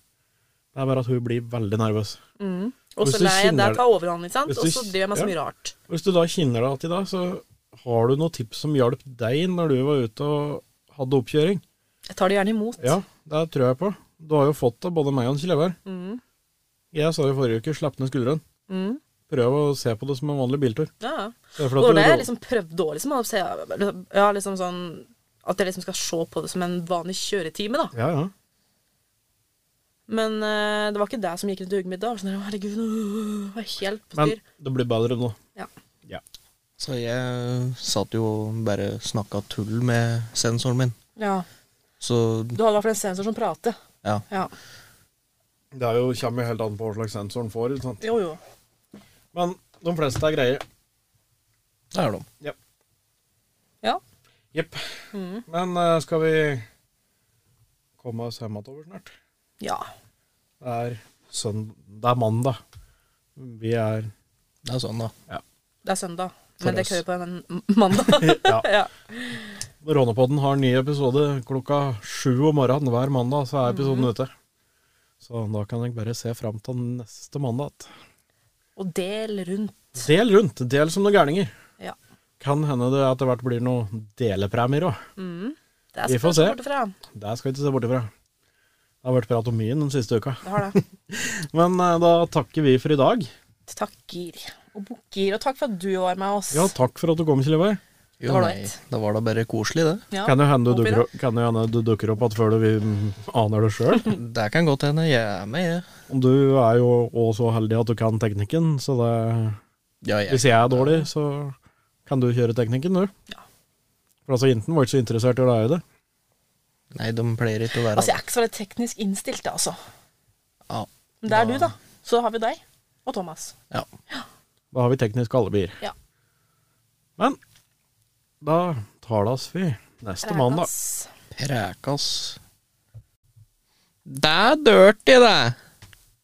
S3: Det er bare at hun blir veldig nervøs.
S4: Og
S3: Hvis
S4: så
S3: du
S4: lar jeg
S3: kjenner
S4: det
S3: det-
S4: ta overhånd, ikke sant.
S3: Hvis
S4: Og
S3: du
S4: så
S3: kj-
S4: driver jeg med så
S3: ja.
S4: mye rart.
S3: Hvis du da kjenner deg til i dag, så har du noen tips som hjalp deg når du var ute og hadde oppkjøring.
S4: Jeg tar det gjerne imot.
S3: Ja, det tror jeg på. Du har jo fått det, både meg og Kjellevær.
S4: Mm.
S3: Jeg sa jo forrige uke, slapp ned skulderen.
S4: Mm.
S3: Prøv å se på det som en vanlig biltur.
S4: ja, ja.
S3: Det er
S4: Og
S3: fordi at
S4: det var det
S3: du-
S4: jeg liksom prøvde òg, liksom. å se- Ja, liksom sånn At jeg liksom skal se på det som en vanlig kjøretime, da.
S3: Ja, ja.
S4: Men eh, det var ikke det som gikk rundt i hodet mitt da. Jeg var Sånn, der, herregud, øh, var helt på
S3: Men
S4: styr.
S3: det blir bedre nå.
S1: Så jeg satt jo og bare snakka tull med sensoren min.
S4: Ja.
S1: Så
S4: Du hadde i hvert fall en sensor som prater.
S1: ja.
S4: Ja.
S3: Det er jo, kommer jo helt an på hva slags sensor den får. Ikke sant?
S4: Jo, jo.
S3: Men de fleste er greie.
S1: Det er de.
S4: Ja.
S3: Jepp. Men eh, skal vi komme oss hjemover snart?
S4: Ja.
S3: Det er, søn... det er mandag. Vi er
S1: Det er sånn, da.
S4: Det er søndag.
S1: For
S4: Men det
S1: oss.
S4: kører på en mandag.
S3: Ja.
S4: ja.
S3: Rånepodden har en ny episode klokka sju om morgenen hver mandag, så er episoden ute. Så da kan jeg bare se fram til neste mandag. at-
S4: Og del rundt.
S3: Del rundt. Del som noen gærninger.
S4: Ja.
S3: Kan hende det etter hvert blir noen delepremier òg.
S4: Det er
S3: Vi får se.
S4: spørsmålet fra.
S3: Det skal vi ikke se bort ifra. Det har vært prat om mye den siste uka.
S4: Det har det.
S3: Men eh, da takker vi for i dag.
S4: Takker og bukker. Og takk for at du var med oss.
S3: Ja, takk for at du kom, Kjellveig.
S1: Jo,
S4: var da
S1: nei,
S4: et.
S1: da var det bare koselig, det.
S4: Ja.
S3: Kan jo hende du
S4: håper
S3: dukker, opp- kan jo hende du dukker opp igjen før du vil- aner det sjøl.
S1: Det kan godt hende. Jeg er med, jeg.
S3: Du er jo også så heldig at du kan teknikken, så det
S1: Ja, jeg.
S3: Hvis jeg er dårlig, så kan du kjøre teknikken, du. For altså, Jenten var ikke så interessert i å lære det.
S1: Nei, de pleier ikke å være
S4: Altså, jeg er ikke så veldig teknisk innstilt, jeg, altså.
S1: Ja.
S4: Men det er du, da. Så har vi deg. Og Thomas.
S1: Ja.
S3: Da har vi tekniske alibier.
S4: Ja.
S3: Men da talas vi neste mandag.
S4: Rækas.
S1: Prekas. Det er dirty, det.